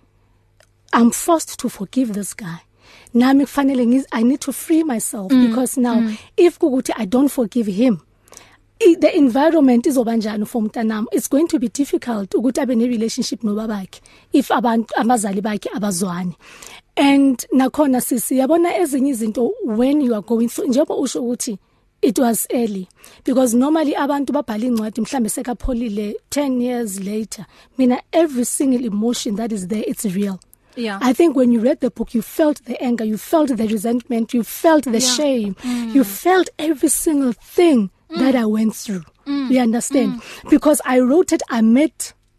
Speaker 3: i'm forced to forgive this guy nami kufanele ngiz i need to free myself mm. because now mm. if kukuthi i don't forgive him i- the environment izoba njani for mntanami it's going to be difficult ukuthi abe ne relationship nobabakhe if abantu abazali bakhe abazwani and nakhona sisi yabona ezinye izinto when you are going through njengoba usho ukuthi it was early because normally abantu babhala incwadi mhlambe sekapholile 10 years later mina every single emotion that is there it's real
Speaker 2: Yeah.
Speaker 3: I think when you read the book, you felt the anger, you felt the resentment, you felt the
Speaker 2: Yeah. Mm.
Speaker 3: shame, you felt every single thing that I went through.
Speaker 2: Mm.
Speaker 3: You understand? Because I wrote it amid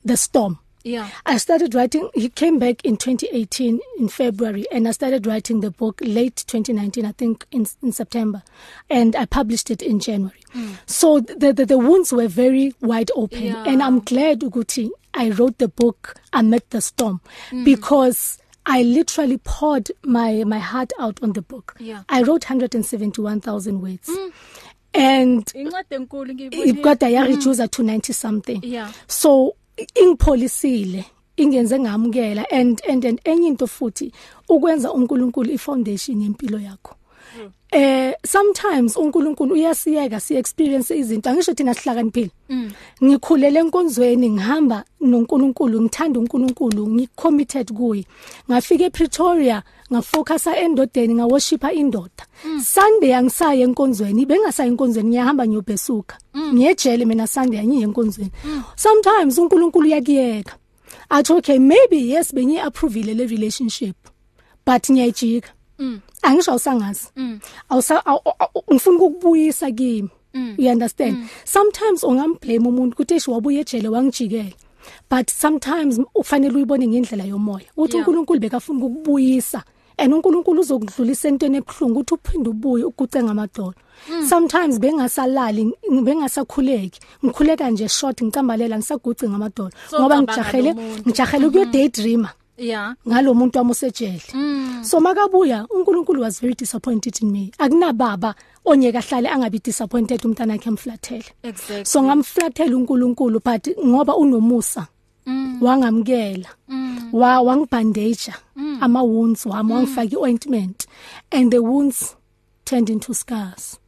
Speaker 3: the storm.
Speaker 2: Yeah.
Speaker 3: I started writing. He came back in 2018 in February, and I started writing the book late 2019, I think in, in September, and I published it in January. So the, the the wounds were very wide open,
Speaker 2: Hmm. Yeah.
Speaker 3: and I'm glad Uguti I wrote the book amid the storm
Speaker 2: Hmm.
Speaker 3: because. I literally poured my, my heart out on the book.
Speaker 2: Yeah. Hmm.
Speaker 3: I wrote 171,000 words. And
Speaker 2: Incwadi enkulu ngiyibonile.
Speaker 3: kodwa yareduce to 90 something
Speaker 2: Yeah.
Speaker 3: so ingipholisile ingenze ngamukela and and and enye into futhi ukwenza uNkulunkulu ifoundation yempilo yakho eh sometimes uNkulunkulu uyasiyeka si experience izinto angisho thina sihlakaniphile ngikhulele enkonzweni ngihamba noNkulunkulu ngithanda uNkulunkulu ngicommitted kuye ngafika ePretoria ngafocusa endodeni ngaworshipa indoda Sunday angisaye enkonzweni bengasaye enkonzweni ngiyahamba ngiyobhesuka ngiyejele mina Sunday angiye enkonzweni sometimes uNkulunkulu uyakiyeka athi okay maybe yes benye approve le relationship but ngiyajika
Speaker 2: Mm.
Speaker 3: angisho awusangazi awusa awu- awu- ngifuna ukubuyisa kimi
Speaker 2: Mm.
Speaker 3: you understand sometimes ungamblame umuntu ukuthi eshi wabuye ejele wangijikela but sometimes ufanele uyibone ngendlela yomoya uthi
Speaker 2: Yeah.
Speaker 3: uNkulunkulu bekafuna ukubuyisa and uNkulunkulu uzokudlulisa entweni ebuhlungu ukuthi uphinde ubuye uguce ngamadolo
Speaker 2: Mm.
Speaker 3: sometimes bengasalali bengasakhuleki ngikhuleka nje short ngicambalela ngisaguce ngamadolo
Speaker 2: So,
Speaker 3: ngoba
Speaker 2: ucabanga
Speaker 3: ngijahele
Speaker 2: nomuntu. Mm-hmm.
Speaker 3: ngijahele kuyo daydreamer
Speaker 2: Yeah.
Speaker 3: ngalomuntu wamosejele so makabuya uNkulunkulu was very disappointed in me akunababa onye kahlale angabi disappointed umntana wakhe emflathele
Speaker 2: Exactly.
Speaker 3: so ngamflathela uNkulunkulu but ngoba unomusa wangamkela wa wangibandage ama wounds wami wangifaka iointment and the wounds turned into scars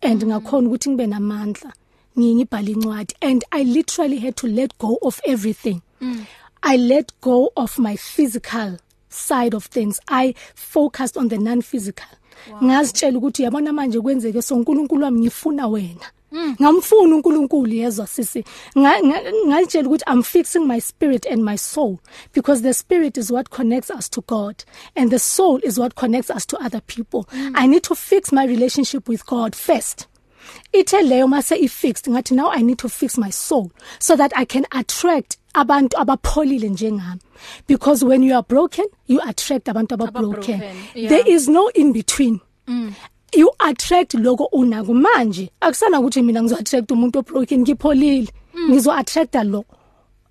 Speaker 3: and ngakhona ukuthi ngibe namandla ngiyibhala incwadi and i literally had to let go of everything i let go of my physical side of things i focused on the non physical ngazitshela ukuthi uyabona manje kwenzeke so uNkulunkulu wami ngifuna wena ngamfuna uNkulunkulu yezwa sisi Nga- nga- ngazitshela ukuthi i'm fixing my spirit and my soul because the spirit is what connects us to God and the soul is what connects us to other people
Speaker 2: Mm.
Speaker 3: i need to fix my relationship with God first ithe leyo mase ifixed ngathi now i need to fix my soul so that i can attract abantu abapholile njengami because when you are broken you attract abantu ababroken
Speaker 2: Ababroken, yeah.
Speaker 3: there is no in between you attract lokho unako manje akusana ukuthi mina ngizo attract umuntu obroken ngipholile ngizo attracta lo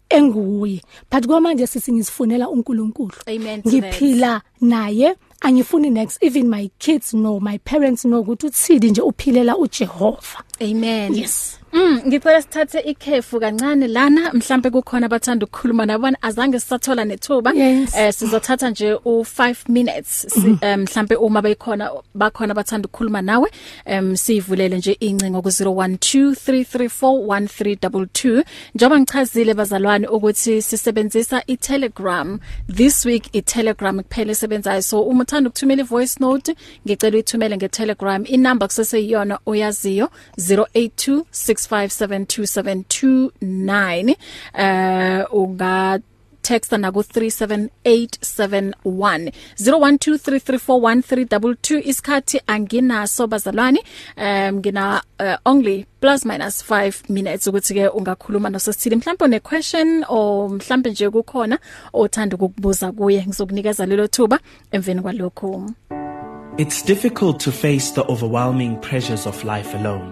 Speaker 3: enguye but kwamanje sisi ngizifunela uNkulunkulu
Speaker 2: Amen to that.
Speaker 3: ngiphila naye angifuni next even my kids no my parents no ukuthi uthidi nje uphilela uJehova
Speaker 2: Amen.
Speaker 3: yes
Speaker 2: Mm, ngicela sithathe ikhefu kancane lana mhlambe kukhona abathanda ukukhuluma nabona azange sisathola nethuba
Speaker 3: Yes.
Speaker 2: eh sizothatha nje u5 minutes si- em, mhlambe uma bekhona bakhona abathanda ukukhuluma nawe em sivulele nje incingo ku 0123341322 njoba ngichazile bazalwane ukuthi sisebenzisa iTelegram this week iTelegram kuphela esebenzayo so uma uthanda ukuthumela ivoice note ngicela uyithumele ngeTelegram inamba kuseseyiyona oyaziyo 0826572729 eh unga texta na ku 37871 0123341322 isikhathi anginaso bazalwane um ngina uh, only plus minus 5 minutes ukuthi ke ungakhuluma nososithile mhlawumbe une question or mhlawumbe nje kukhona othanda ukukubuza kuye ngizokunikeza lelo thuba emveni kwalokho
Speaker 4: It's difficult to face the overwhelming pressures of life alone.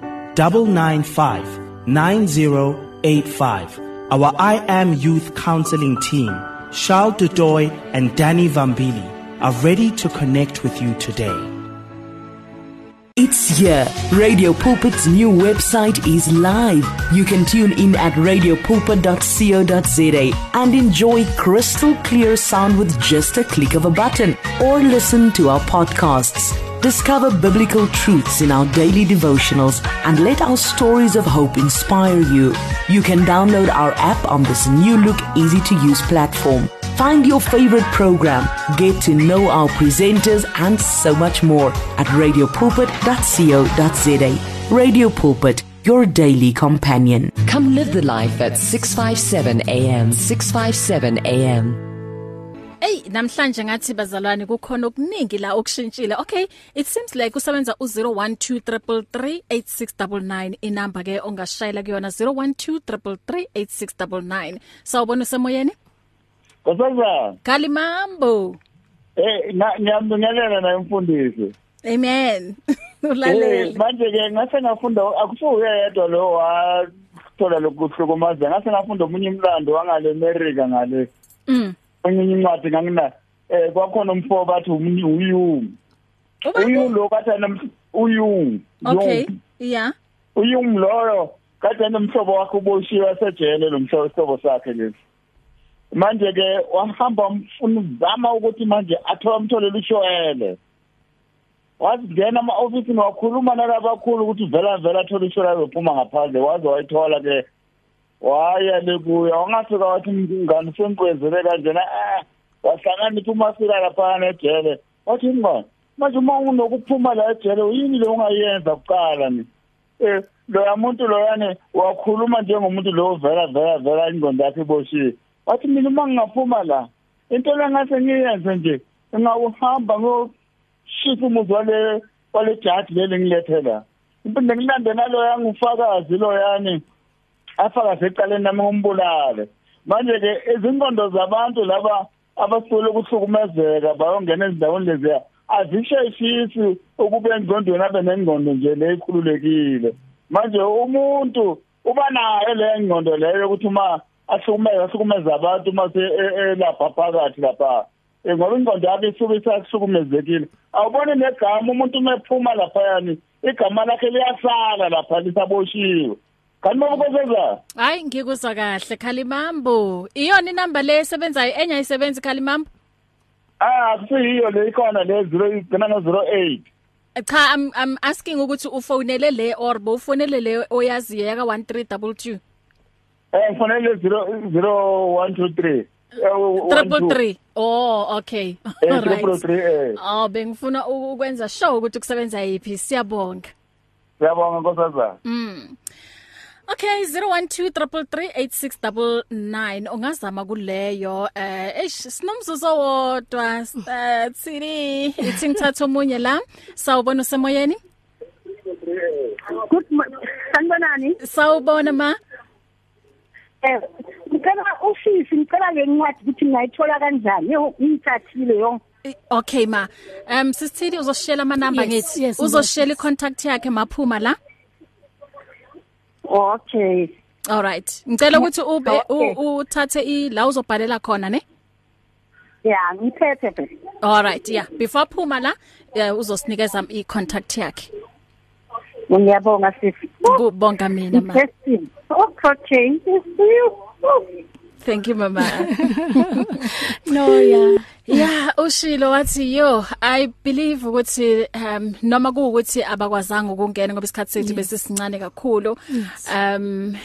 Speaker 4: 995 9085. Our I Am Youth Counseling team, Charles Dudoy and Danny Vambili, are ready to connect with you today.
Speaker 5: It's here. Radio Pulpit's new website is live. You can tune in at radiopulpit.co.za and enjoy crystal clear sound with just a click of a button or listen to our podcasts. Discover biblical truths in our daily devotionals and let our stories of hope inspire you. You can download our app on this new look easy to use platform. Find your favorite program, get to know our presenters, and so much more at radiopulpit.co.za. Radio Pulpit, your daily companion.
Speaker 6: Come live the life at 657 AM 657 AM
Speaker 2: Ey namhlanje ngathi bazalwane kukhona okuningi la okushintshile. Okay, it seems like usebenza u0123338699 inamba ke ongashayela kuyona 0123338699. Sawubona usemoyeni?
Speaker 7: Kusenzani?
Speaker 2: Kalimambo.
Speaker 7: Eh na- ngiyambingelela naye umfundisi.
Speaker 2: Amen.
Speaker 7: Eh
Speaker 2: Ulalele.
Speaker 7: manje ke ngase ngafunda akusuye yedwa lo wathola lokuhlukumaza. Ngase ngafunda omunye umlando wangale America ngale.
Speaker 2: Mm.
Speaker 7: Enye incwadi ngangina eh kwakhona umfo bathi umnyu uyum. Uyum lo kathi ana uyum.
Speaker 2: Okay. Yeah.
Speaker 7: Uyum loyo kathi ana umhlobo wakhe uboshiwe asejele lo mhlobo sobo sakhe lesi. Manje ke wahamba umfuna uzama ukuthi manje athola umtholela ushwele. wazingena ama-ofisini wakhuluma nalabakhulu ukuthi vela vela athole ishora yophuma ngaphandle waze wayithola ke waya le kuya wangafika wathi mngani sengikwenzele kanjena ah wahlanganisa umasika laphana ejele wathi mngani manje uma unokuphuma la ejele yini lo ungayenza kuqala ni um loya muntu loyane wakhuluma njengomuntu lo vela vela vela ingqondo yakhe iboshiwe wathi mina uma ngingaphuma la into lengase ngiyenze nje ngingawuhamba ngo shisa umuzi wale wale jaji leli ngilethe la impinde ngilande nalo yangufakazi loyani afakaze eqaleni nami ngombulale manje ke izinkondo zabantu laba abasule ukuhlukumezeka bayongena ezindaweni leziya azisheshisi ukuba engqondweni abe nengqondo nje leyikhululekile manje umuntu uba nayo le ngqondo leyo ukuthi uma ahlukumeza ahlukumeza abantu uma se- e- elapha phakathi lapha Eh, ngoba ingqondo yakhe isuke isahlukumezekile awubone negama umuntu uma ephuma laphayani igama lakhe liyasala lapha lisaboshiwe kanti uma ukozezana
Speaker 2: Hayi ngikuzwa kahle Kalimambo. Iyona inamba le esebenzayo enye ayisebenzi Kalimambo.
Speaker 7: Ah, kusiyiyo le ikhona le 0 igcina ngo 08.
Speaker 2: Cha I'm I'm asking ukuthi ufonele le or bowufonele le oyaziyo ka 1322.
Speaker 7: Eh, ngifanele 0 0123.
Speaker 2: Triple three. Oh, okay.
Speaker 7: Eh,
Speaker 2: Alright.
Speaker 7: 333 eh.
Speaker 2: Oh, bengifuna u- ukwenza show ukuthi kusebenza yipi. Siyabonga.
Speaker 7: Siyabonga nkosazana.
Speaker 2: Okay 0123338699 ungazama kuleyo eh eish, sinomzuzu wodwa eh, tsini ithi ngithatha omunye la sawubona usemoyeni
Speaker 8: Good morning. Sanibonani.
Speaker 2: sawubona ma
Speaker 8: Eh, ngicela ofisi, ngicela le ncwadi ukuthi ngayithola kanjani. Yo, ngiyithathile yo.
Speaker 2: I- Okay ma um sisithini uzoshela ama number
Speaker 3: Yes,
Speaker 2: ngithi
Speaker 3: yes,
Speaker 2: uzoshela icontact yakhe maphuma la
Speaker 8: Okay.
Speaker 2: All right ngicela ukuthi ube
Speaker 8: Okay.
Speaker 2: u- uthathe i la uzobhalela khona ne
Speaker 8: Yeah, ngiphethe phela.
Speaker 2: All right yeah before phuma la eh, uzosinikeza i contact yakhe
Speaker 8: Ngiyabonga sisi.
Speaker 2: kubonga mina ma
Speaker 8: Testing. Oh, protein. You.
Speaker 2: thank you mama
Speaker 3: No yeah.
Speaker 2: Yeah, ushilo wathi yo I believe ukuthi um noma kuukuthi abakwazanga ukungena ngoba isikhathi sethu bese sincane kakhulu. Um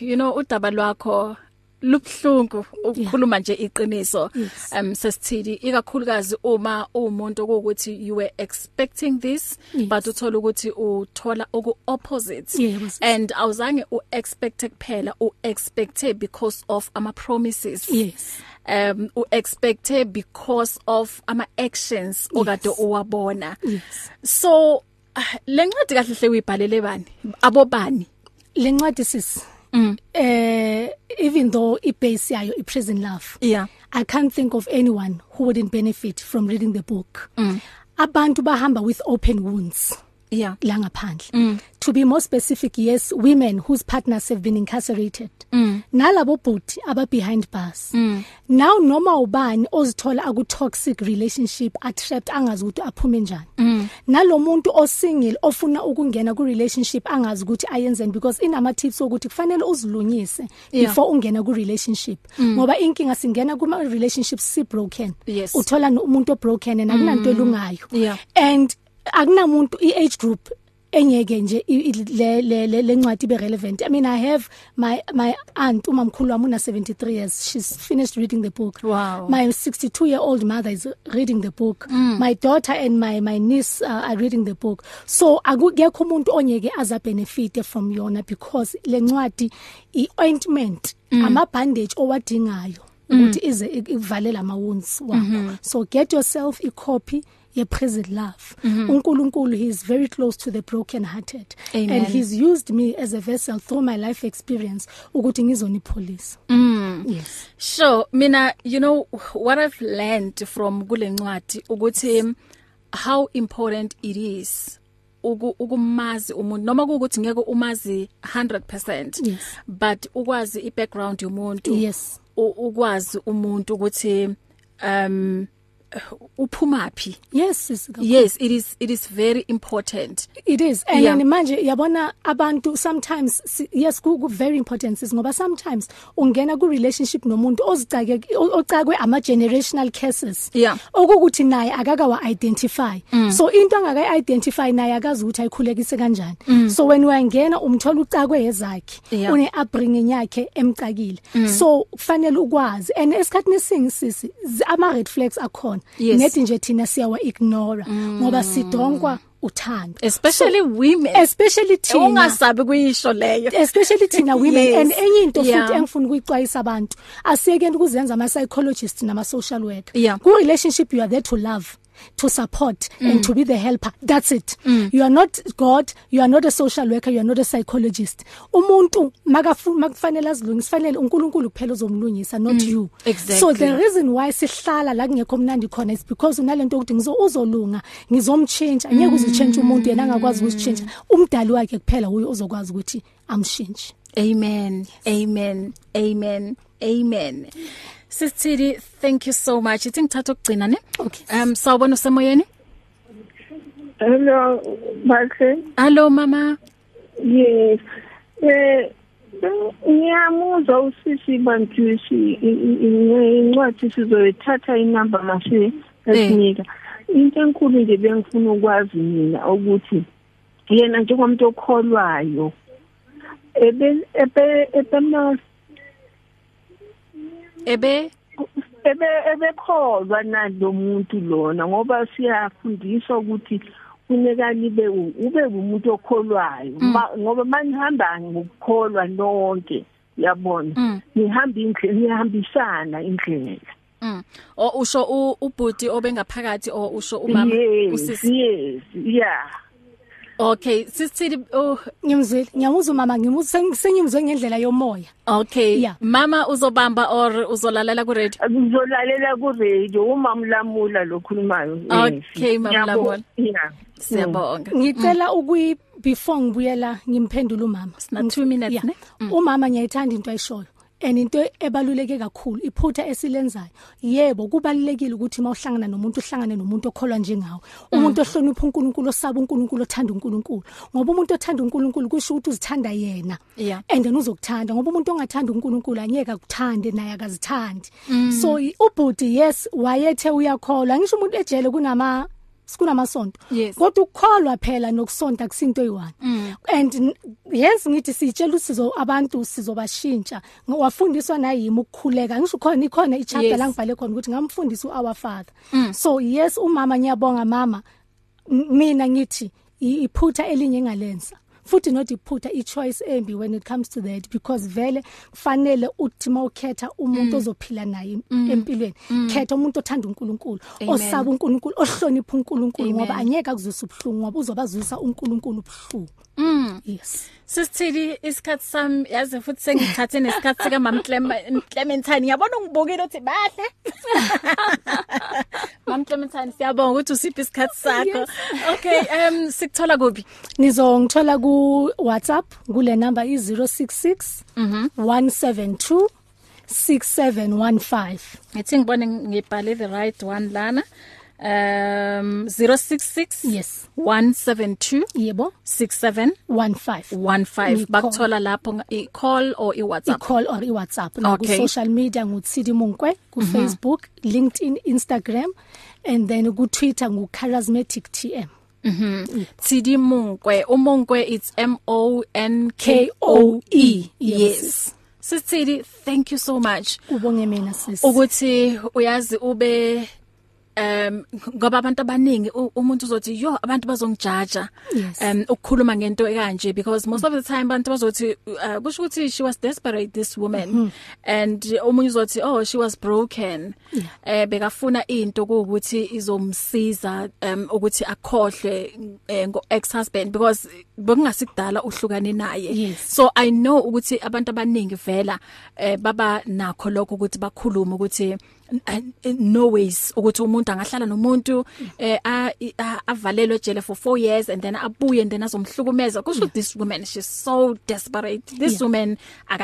Speaker 2: you know udaba lwakho lubhlungu ukukhuluma nje iqiniso. Um sesithili ikakhulukazi uma umuntu ukuthi you were expecting this
Speaker 3: Yes.
Speaker 2: but uthola ukuthi uthola oku opposite.
Speaker 3: Yebo, sis.
Speaker 2: And awuzange uexpect kuphela uexpecte because of ama promises.
Speaker 3: Yes.
Speaker 2: um uexpecte because of ama actions okade uwabona
Speaker 3: Yes.
Speaker 2: so ah, lencwadi kahle hle uyibhalele bani abobani
Speaker 3: Lencwadi sis. Mm. Eh even though ibase yayo iprison love.
Speaker 2: yeah
Speaker 3: I can't think of anyone who wouldn't benefit from reading the book. Mm. Abantu bahamba with open wounds.
Speaker 2: Yeah.
Speaker 3: la ngaphandle mm. to be more specific yes women whose partners have been incarcerated mm. nalabo bhuti aba behind bars mm. now noma ubani ozithola aku toxic relationship atrapped angazi ukuthi aphume njani mm. nalomuntu osingle ofuna ukungena ku relationship angazi ukuthi ayenzeni because inama tips ukuthi kufanele uzilunyise
Speaker 2: Yeah.
Speaker 3: before ungena ku relationship ngoba inkinga singena kuma relationship si broken
Speaker 2: Yes.
Speaker 3: uthola no- umuntu o broken and akunanto elungayo
Speaker 2: Mm. Yeah.
Speaker 3: and akunamuntu iage group engeke nje i- i- le- le- le- lencwadi be relevant i mean i have my my aunt umamkhulu wami una 73 years she's finished reading the book
Speaker 2: Wow.
Speaker 3: my 62 year old mother is reading the book mm. my daughter and my my niece uh, are reading the book so akukekho umuntu onyeke aza benefit from yona because lencwadi i ointment mm. ama bandage owadingayo ukuthi ize ik- ikuvalele ama wounds wakho so get yourself a copy ye present love uNkulunkulu he is very close to the broken hearted
Speaker 2: Amen.
Speaker 3: and he's used me as a vessel through my life experience ukuthi ngizonipholisa mm. yes
Speaker 2: Sure mina you know what I've learned from kulencwadi ukuthi how important it is uku- ukumazi umuntu noma ukuthi ngeke umazi 100%
Speaker 3: Yes.
Speaker 2: but ukwazi ibackground yomuntu
Speaker 3: Yes.
Speaker 2: u- ukwazi umuntu ukuthi um uphumaphi
Speaker 3: yes sis, kakhulu.
Speaker 2: yes it is it is very important
Speaker 3: it is and
Speaker 2: Yeah.
Speaker 3: yeah. manje yabona abantu sometimes si- yes ku ku- very important is ngoba sometimes ungena ku relationship nomuntu ozicake o- ocakwe ama generational curses
Speaker 2: Yeah.
Speaker 3: okukuthi naye akaka wa identify mm. so into angaka identify naye akazi ukuthi ayikhulekise kanjani mm. so when uyangena umthola ucakwe ezakhe
Speaker 2: Yeah.
Speaker 3: une upbringing yakhe emcakile mm. so kufanele ukwazi and esikhathini singisisi ama red flags akhona
Speaker 2: Yes.
Speaker 3: nethi nje thina siyawa ignore mm. ngoba sidonkwa uthando
Speaker 2: especially women
Speaker 3: especially thina
Speaker 2: ungasabi kuyisho leyo
Speaker 3: especially thina women
Speaker 2: Eh, Yes.
Speaker 3: yes. and enye into
Speaker 2: Yeah.
Speaker 3: futhi engifuna ukuyixwayisa abantu asiyekeni ukuzenza ama psychologists nama social worker
Speaker 2: Yeah.
Speaker 3: ku relationship you are there to love to support mm. and to be the helper that's it mm. you are not god you are not a social worker you are not a psychologist umuntu makafuna makufanele azilungise fanele uNkulunkulu kuphela uzomlungisa not mm. you
Speaker 2: Exactly.
Speaker 3: so the reason why sihlala la kungekho mnandi khona is because unalento ukuthi ngizo uzolunga ngizomchange angeke uzitshange umuntu yena angakwazi ukusitshange umdali wakhe kuphela uyo uzokwazi ukuthi amshintshe
Speaker 2: Amen. Amen. Amen. Amen. Sisithidi, thank you so much. Ithi ngithatha ukugcina ne?
Speaker 3: Okay.
Speaker 2: Um sawubona usemoyeni?
Speaker 8: Hello, Martin.
Speaker 2: Hello mama.
Speaker 8: Yes. Eh ngiyamuzwa usisi Bantwisi incwadi sizoyithatha inamba masi esinika. Into enkulu nje bengifuna ukwazi mina ukuthi yena njengomuntu okholwayo ebe ebe ebema
Speaker 2: Ebe
Speaker 8: ebe ebekholwa nalo muntu lona ngoba siyafundiswa ukuthi kuneka libe u- ube umuntu okholwayo
Speaker 2: Mm.
Speaker 8: Ma- ngoba manihamba ngokukholwa lonke yabona nihamba indlela nihambisana indlela
Speaker 2: mm. o usho u- ubhuti obengaphakathi o usho umama
Speaker 8: yes
Speaker 2: usisi.
Speaker 8: yes yeah
Speaker 2: Okay, sisithidi oh
Speaker 3: ngimzwile ngiyamuzwa mama ngimuzwa sengimzwe ngendlela yomoya
Speaker 2: okay.
Speaker 3: Yeah.
Speaker 2: Mama uzobamba or uzolalela ku radio.
Speaker 8: ngizolalela ku radio umamlamula lokhulumayo yes.
Speaker 2: Okay, Mama
Speaker 8: Ngiyabonga.
Speaker 2: Lamula.
Speaker 8: yeah
Speaker 3: Mm.
Speaker 2: Siyabonga.
Speaker 3: ngicela
Speaker 2: Mm.
Speaker 3: ukuyi before ngibuyela ngimphendula umama
Speaker 2: Sina two minutes, ne? Mm.
Speaker 3: umama ngiyayithanda into ayishoyo and into ebaluleke kakhulu iphutha esilenzayo yebo kubalekile ukuthi mawuhlangana nomuntu uhlangane nomuntu okholwa njengawe
Speaker 2: Mm.
Speaker 3: umuntu ohlonipha uNkulunkulu osaba uNkulunkulu othanda uNkulunkulu ngoba umuntu othanda uNkulunkulu kusho ukuthi uzithanda yena
Speaker 2: Yeah.
Speaker 3: and then uzokuthanda ngoba umuntu ongathanda uNkulunkulu anyeka kuthande naye akazithandi so i- ubhuti yes wayethe uyakholwa ngisho umuntu ejele kunama kunamasonto
Speaker 2: Yes.
Speaker 3: kodwa ukukholwa phela nokusonta kusinto eyi-one and n- hence ngithi siyitshela usizo abantu sizobashintsha Ngo- wafundiswa nayimi ukukhuleka ngisho khona ikhona ichapter
Speaker 2: Yes.
Speaker 3: la ngibhale khona ukuthi ngamfundisa u-our father so yes umama ngiyabonga mama M- mina ngithi i- iphutha elinye engalenza futhi not iphutha i-choice embi when it comes to that because vele kufanele uthi mawukhetha umuntu ozophila naye empilweni khetha umuntu othanda uNkulunkulu osaba uNkulunkulu ohlonipha uNkulunkulu ngoba anyeka kuzwisa ubhlungu ngoba uzobazwisa uNkulunkulu ubhlungu yes
Speaker 2: Sisithidi isikhatsi sami yazi futhi sengithathe nesikhatsi sika Mam Clementine. Yabona ungibukile uthi bahle. Mam Clementine siya Siyabonga ukuthi usiphe isikhatsi sakho. Okay, um sikuthola kuphi?
Speaker 3: Nizongithola ku WhatsApp kule number i066
Speaker 2: Mhm.
Speaker 3: 172 6715
Speaker 2: Ngithi ngibone ngibhale the right one lana. Um 066
Speaker 3: Yes.
Speaker 2: 172
Speaker 3: yebo
Speaker 2: 6715
Speaker 3: 15 Ngikho-
Speaker 2: bakuthola lapho i call or i WhatsApp.
Speaker 3: i-call or i-WhatsApp na
Speaker 2: Okay. Mhm.
Speaker 3: ku-social media ngutsidi munkwe ku-Facebook LinkedIn Instagram and then ku-Twitter ngu-charismatic TM
Speaker 2: Tsidi Monkwe, uMonkwe it's M O N K O E.
Speaker 3: K-O-E.
Speaker 2: Yes. Sisithidi, thank you so much.
Speaker 3: ubonge mina sisi
Speaker 2: ukuthi uyazi ube um ngoba abantu abaningi u- umuntu uzothi yo abantu bazongijaja
Speaker 3: Yes.
Speaker 2: um ukukhuluma ngento ekanje because most of the time abantu bazothi uh, kusho ukuthi she was desperate this woman
Speaker 3: Mm-hmm.
Speaker 2: mm -hmm. and omunye uzothi oh she was broken yeah. eh bekafuna into ukuthi izomsiza um ukuthi akhohle eh, ngo ex husband because bekungasikudala uhlukane naye
Speaker 3: Yes.
Speaker 2: so i know ukuthi abantu abaningi vela eh baba nakho lokho ukuthi bakhulume ukuthi n- n- no ways ukuthi umuntu angahlala nomuntu eh a- i- a- avalelwe ejele for 4 years and then abuye and then azomhlukumeza kusho yeah. this woman she's so desperate this yeah.
Speaker 3: Yeah.
Speaker 2: woman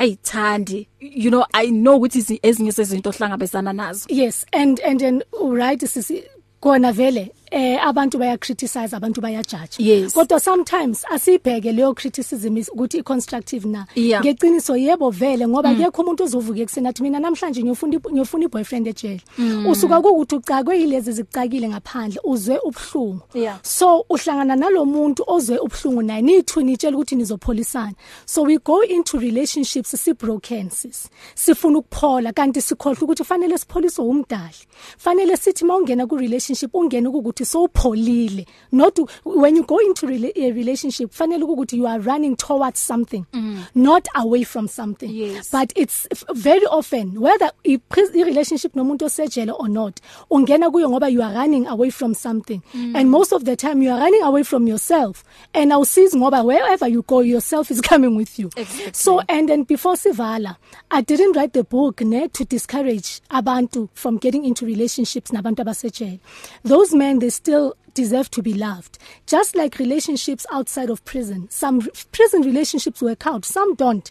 Speaker 2: akayithandi you know i know ukuthi izi- ezinye sezinto ohlangabezana nazo
Speaker 3: yes and and then right sisi kona vele eh abantu baya criticize abantu baya judge
Speaker 2: Yes.
Speaker 3: kodwa sometimes asibheke leyo criticism is ukuthi i constructive na
Speaker 2: Yeah.
Speaker 3: ngeqiniso yebo vele ngoba akekho umuntu ozovuka ekseni athi mina namhlanje ngiyofuna i- ngiyofuna iboyfriend ejele usuka ukuthi ucakwe yilezi zicakile ngaphandle uzwe ubhlungu
Speaker 2: Yeah.
Speaker 3: so uhlangana nalomuntu ozwe ubhlungu naye nithu nitshela ukuthi nizopholisana so we go into relationships sibroken sis sifuna ukuphola kanti sikhohle ukuthi fanele sipholiswe umdali fanele sithi mawungena ku relationship ungene ukuthi sowupholile not u- when you go into rela- a relationship fanele ukuthi you are running towards something mm. not away from something
Speaker 2: Yes.
Speaker 3: but it's f- very often whether i pres- i relationship nomuntu osejele or not ungena kuyo ngoba you are running away from something mm. and most of the time you are running away from yourself and awusizi ngoba wherever you go yourself is coming with you
Speaker 2: Exactly.
Speaker 3: so and then before sivala i didn't write the book ne to discourage abantu from getting into relationships nabantu abasejele those men they still deserve to be loved just like relationships outside of prison some re- prison relationships work out some don't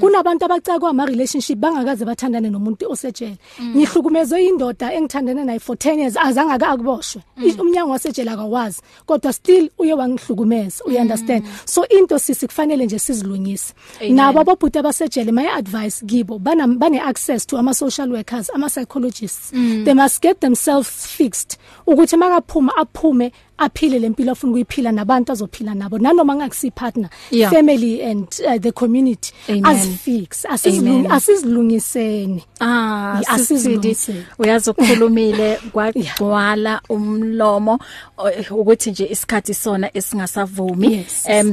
Speaker 3: kunabantu abacakwa ama relationship bangakaze bathandane nomuntu osejele ngihlukumezwe indoda engithandana naye for 10 years azange ake akuboshwe
Speaker 2: Mm.
Speaker 3: I- umnyango wasejele akawazi kodwa still uye wangihlukumeza you understand so into sisi kufanele nje sizilungise
Speaker 2: Mm. Amen.
Speaker 3: nabo ababhuti abasejele my advice kibo bana- bane access to ama social workers ama psychologists
Speaker 2: Mm.
Speaker 3: they must get themselves fixed ukuthi makaphuma aphume aphile lempilo afuna ukuyiphila nabantu azophila nabo nanoma ngakusi partner
Speaker 2: Yeah.
Speaker 3: family and uh, the community
Speaker 2: Amen.
Speaker 3: asifix asizilungi-
Speaker 2: Amen.
Speaker 3: asizilungiseni
Speaker 2: Ah,
Speaker 3: Yeah,
Speaker 2: sisidi
Speaker 3: asizilungisele.
Speaker 2: uyazi ukukhulumile kwagcwala umlomo o- ukuthi nje isikhathi sona esingasavumi.
Speaker 3: Yes.
Speaker 2: Um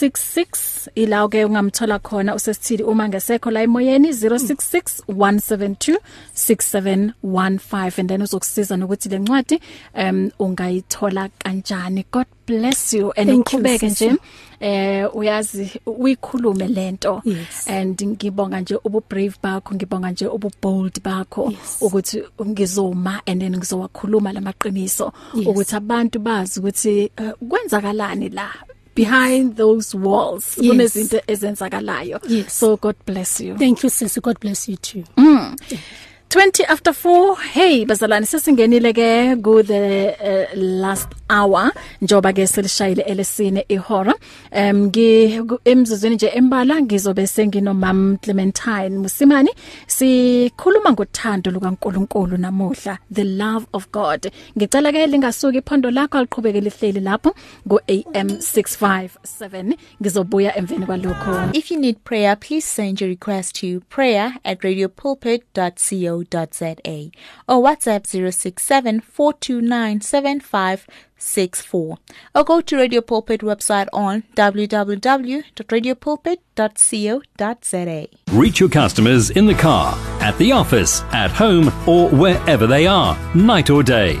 Speaker 2: 066 ila ke ungamthola khona usesithili uma ngesekho la emoyeni 0661726715 and then uzokusiza nokuthi lencwadi um ungayithola kanjani. God bless you and
Speaker 3: Thank you,
Speaker 2: uqhubeke nje
Speaker 3: sisi.
Speaker 2: eh uyazi uyikhulume lento
Speaker 3: Yes.
Speaker 2: and ngibonga nje ubu brave bakho ngibonga nje ubu bold bakho
Speaker 3: Yes.
Speaker 2: ukuthi ngizoma and then ngizowakhuluma lamaqiniso
Speaker 3: Yes.
Speaker 2: ukuthi abantu bazi ukuthi eh, kwenzakalani la behind those walls
Speaker 3: Yes.
Speaker 2: kunezinto ezenzakalayo
Speaker 3: Yes.
Speaker 2: so god bless you
Speaker 3: thank you sisi god bless you too
Speaker 2: 20 after 4 hey bazalwane sesingenile ke ku the uh, last hour njoba ke selishayile elesine ihora um ngi ku- emzuzwini nje embala ngizobe senginomam Clementine Musimani sikhuluma ngothando lukaNkuluNkulu namuhla the love of God ngicela ke lingasuki iphondo lakho aliqhubekele ihleli lapho ngo AM 657 ngizobuya emveni kwalokho
Speaker 9: If you need prayer, please send your request to prayer at radiopulpit.co.za or WhatsApp 067-429-7564 or go to Radio Pulpit website on www.radiopulpit.co.za.
Speaker 1: Reach your customers in the car, at the office, at home, or wherever they are, night or day.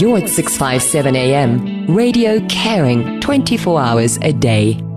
Speaker 6: You're at 657 AM, radio caring 24 hours a day.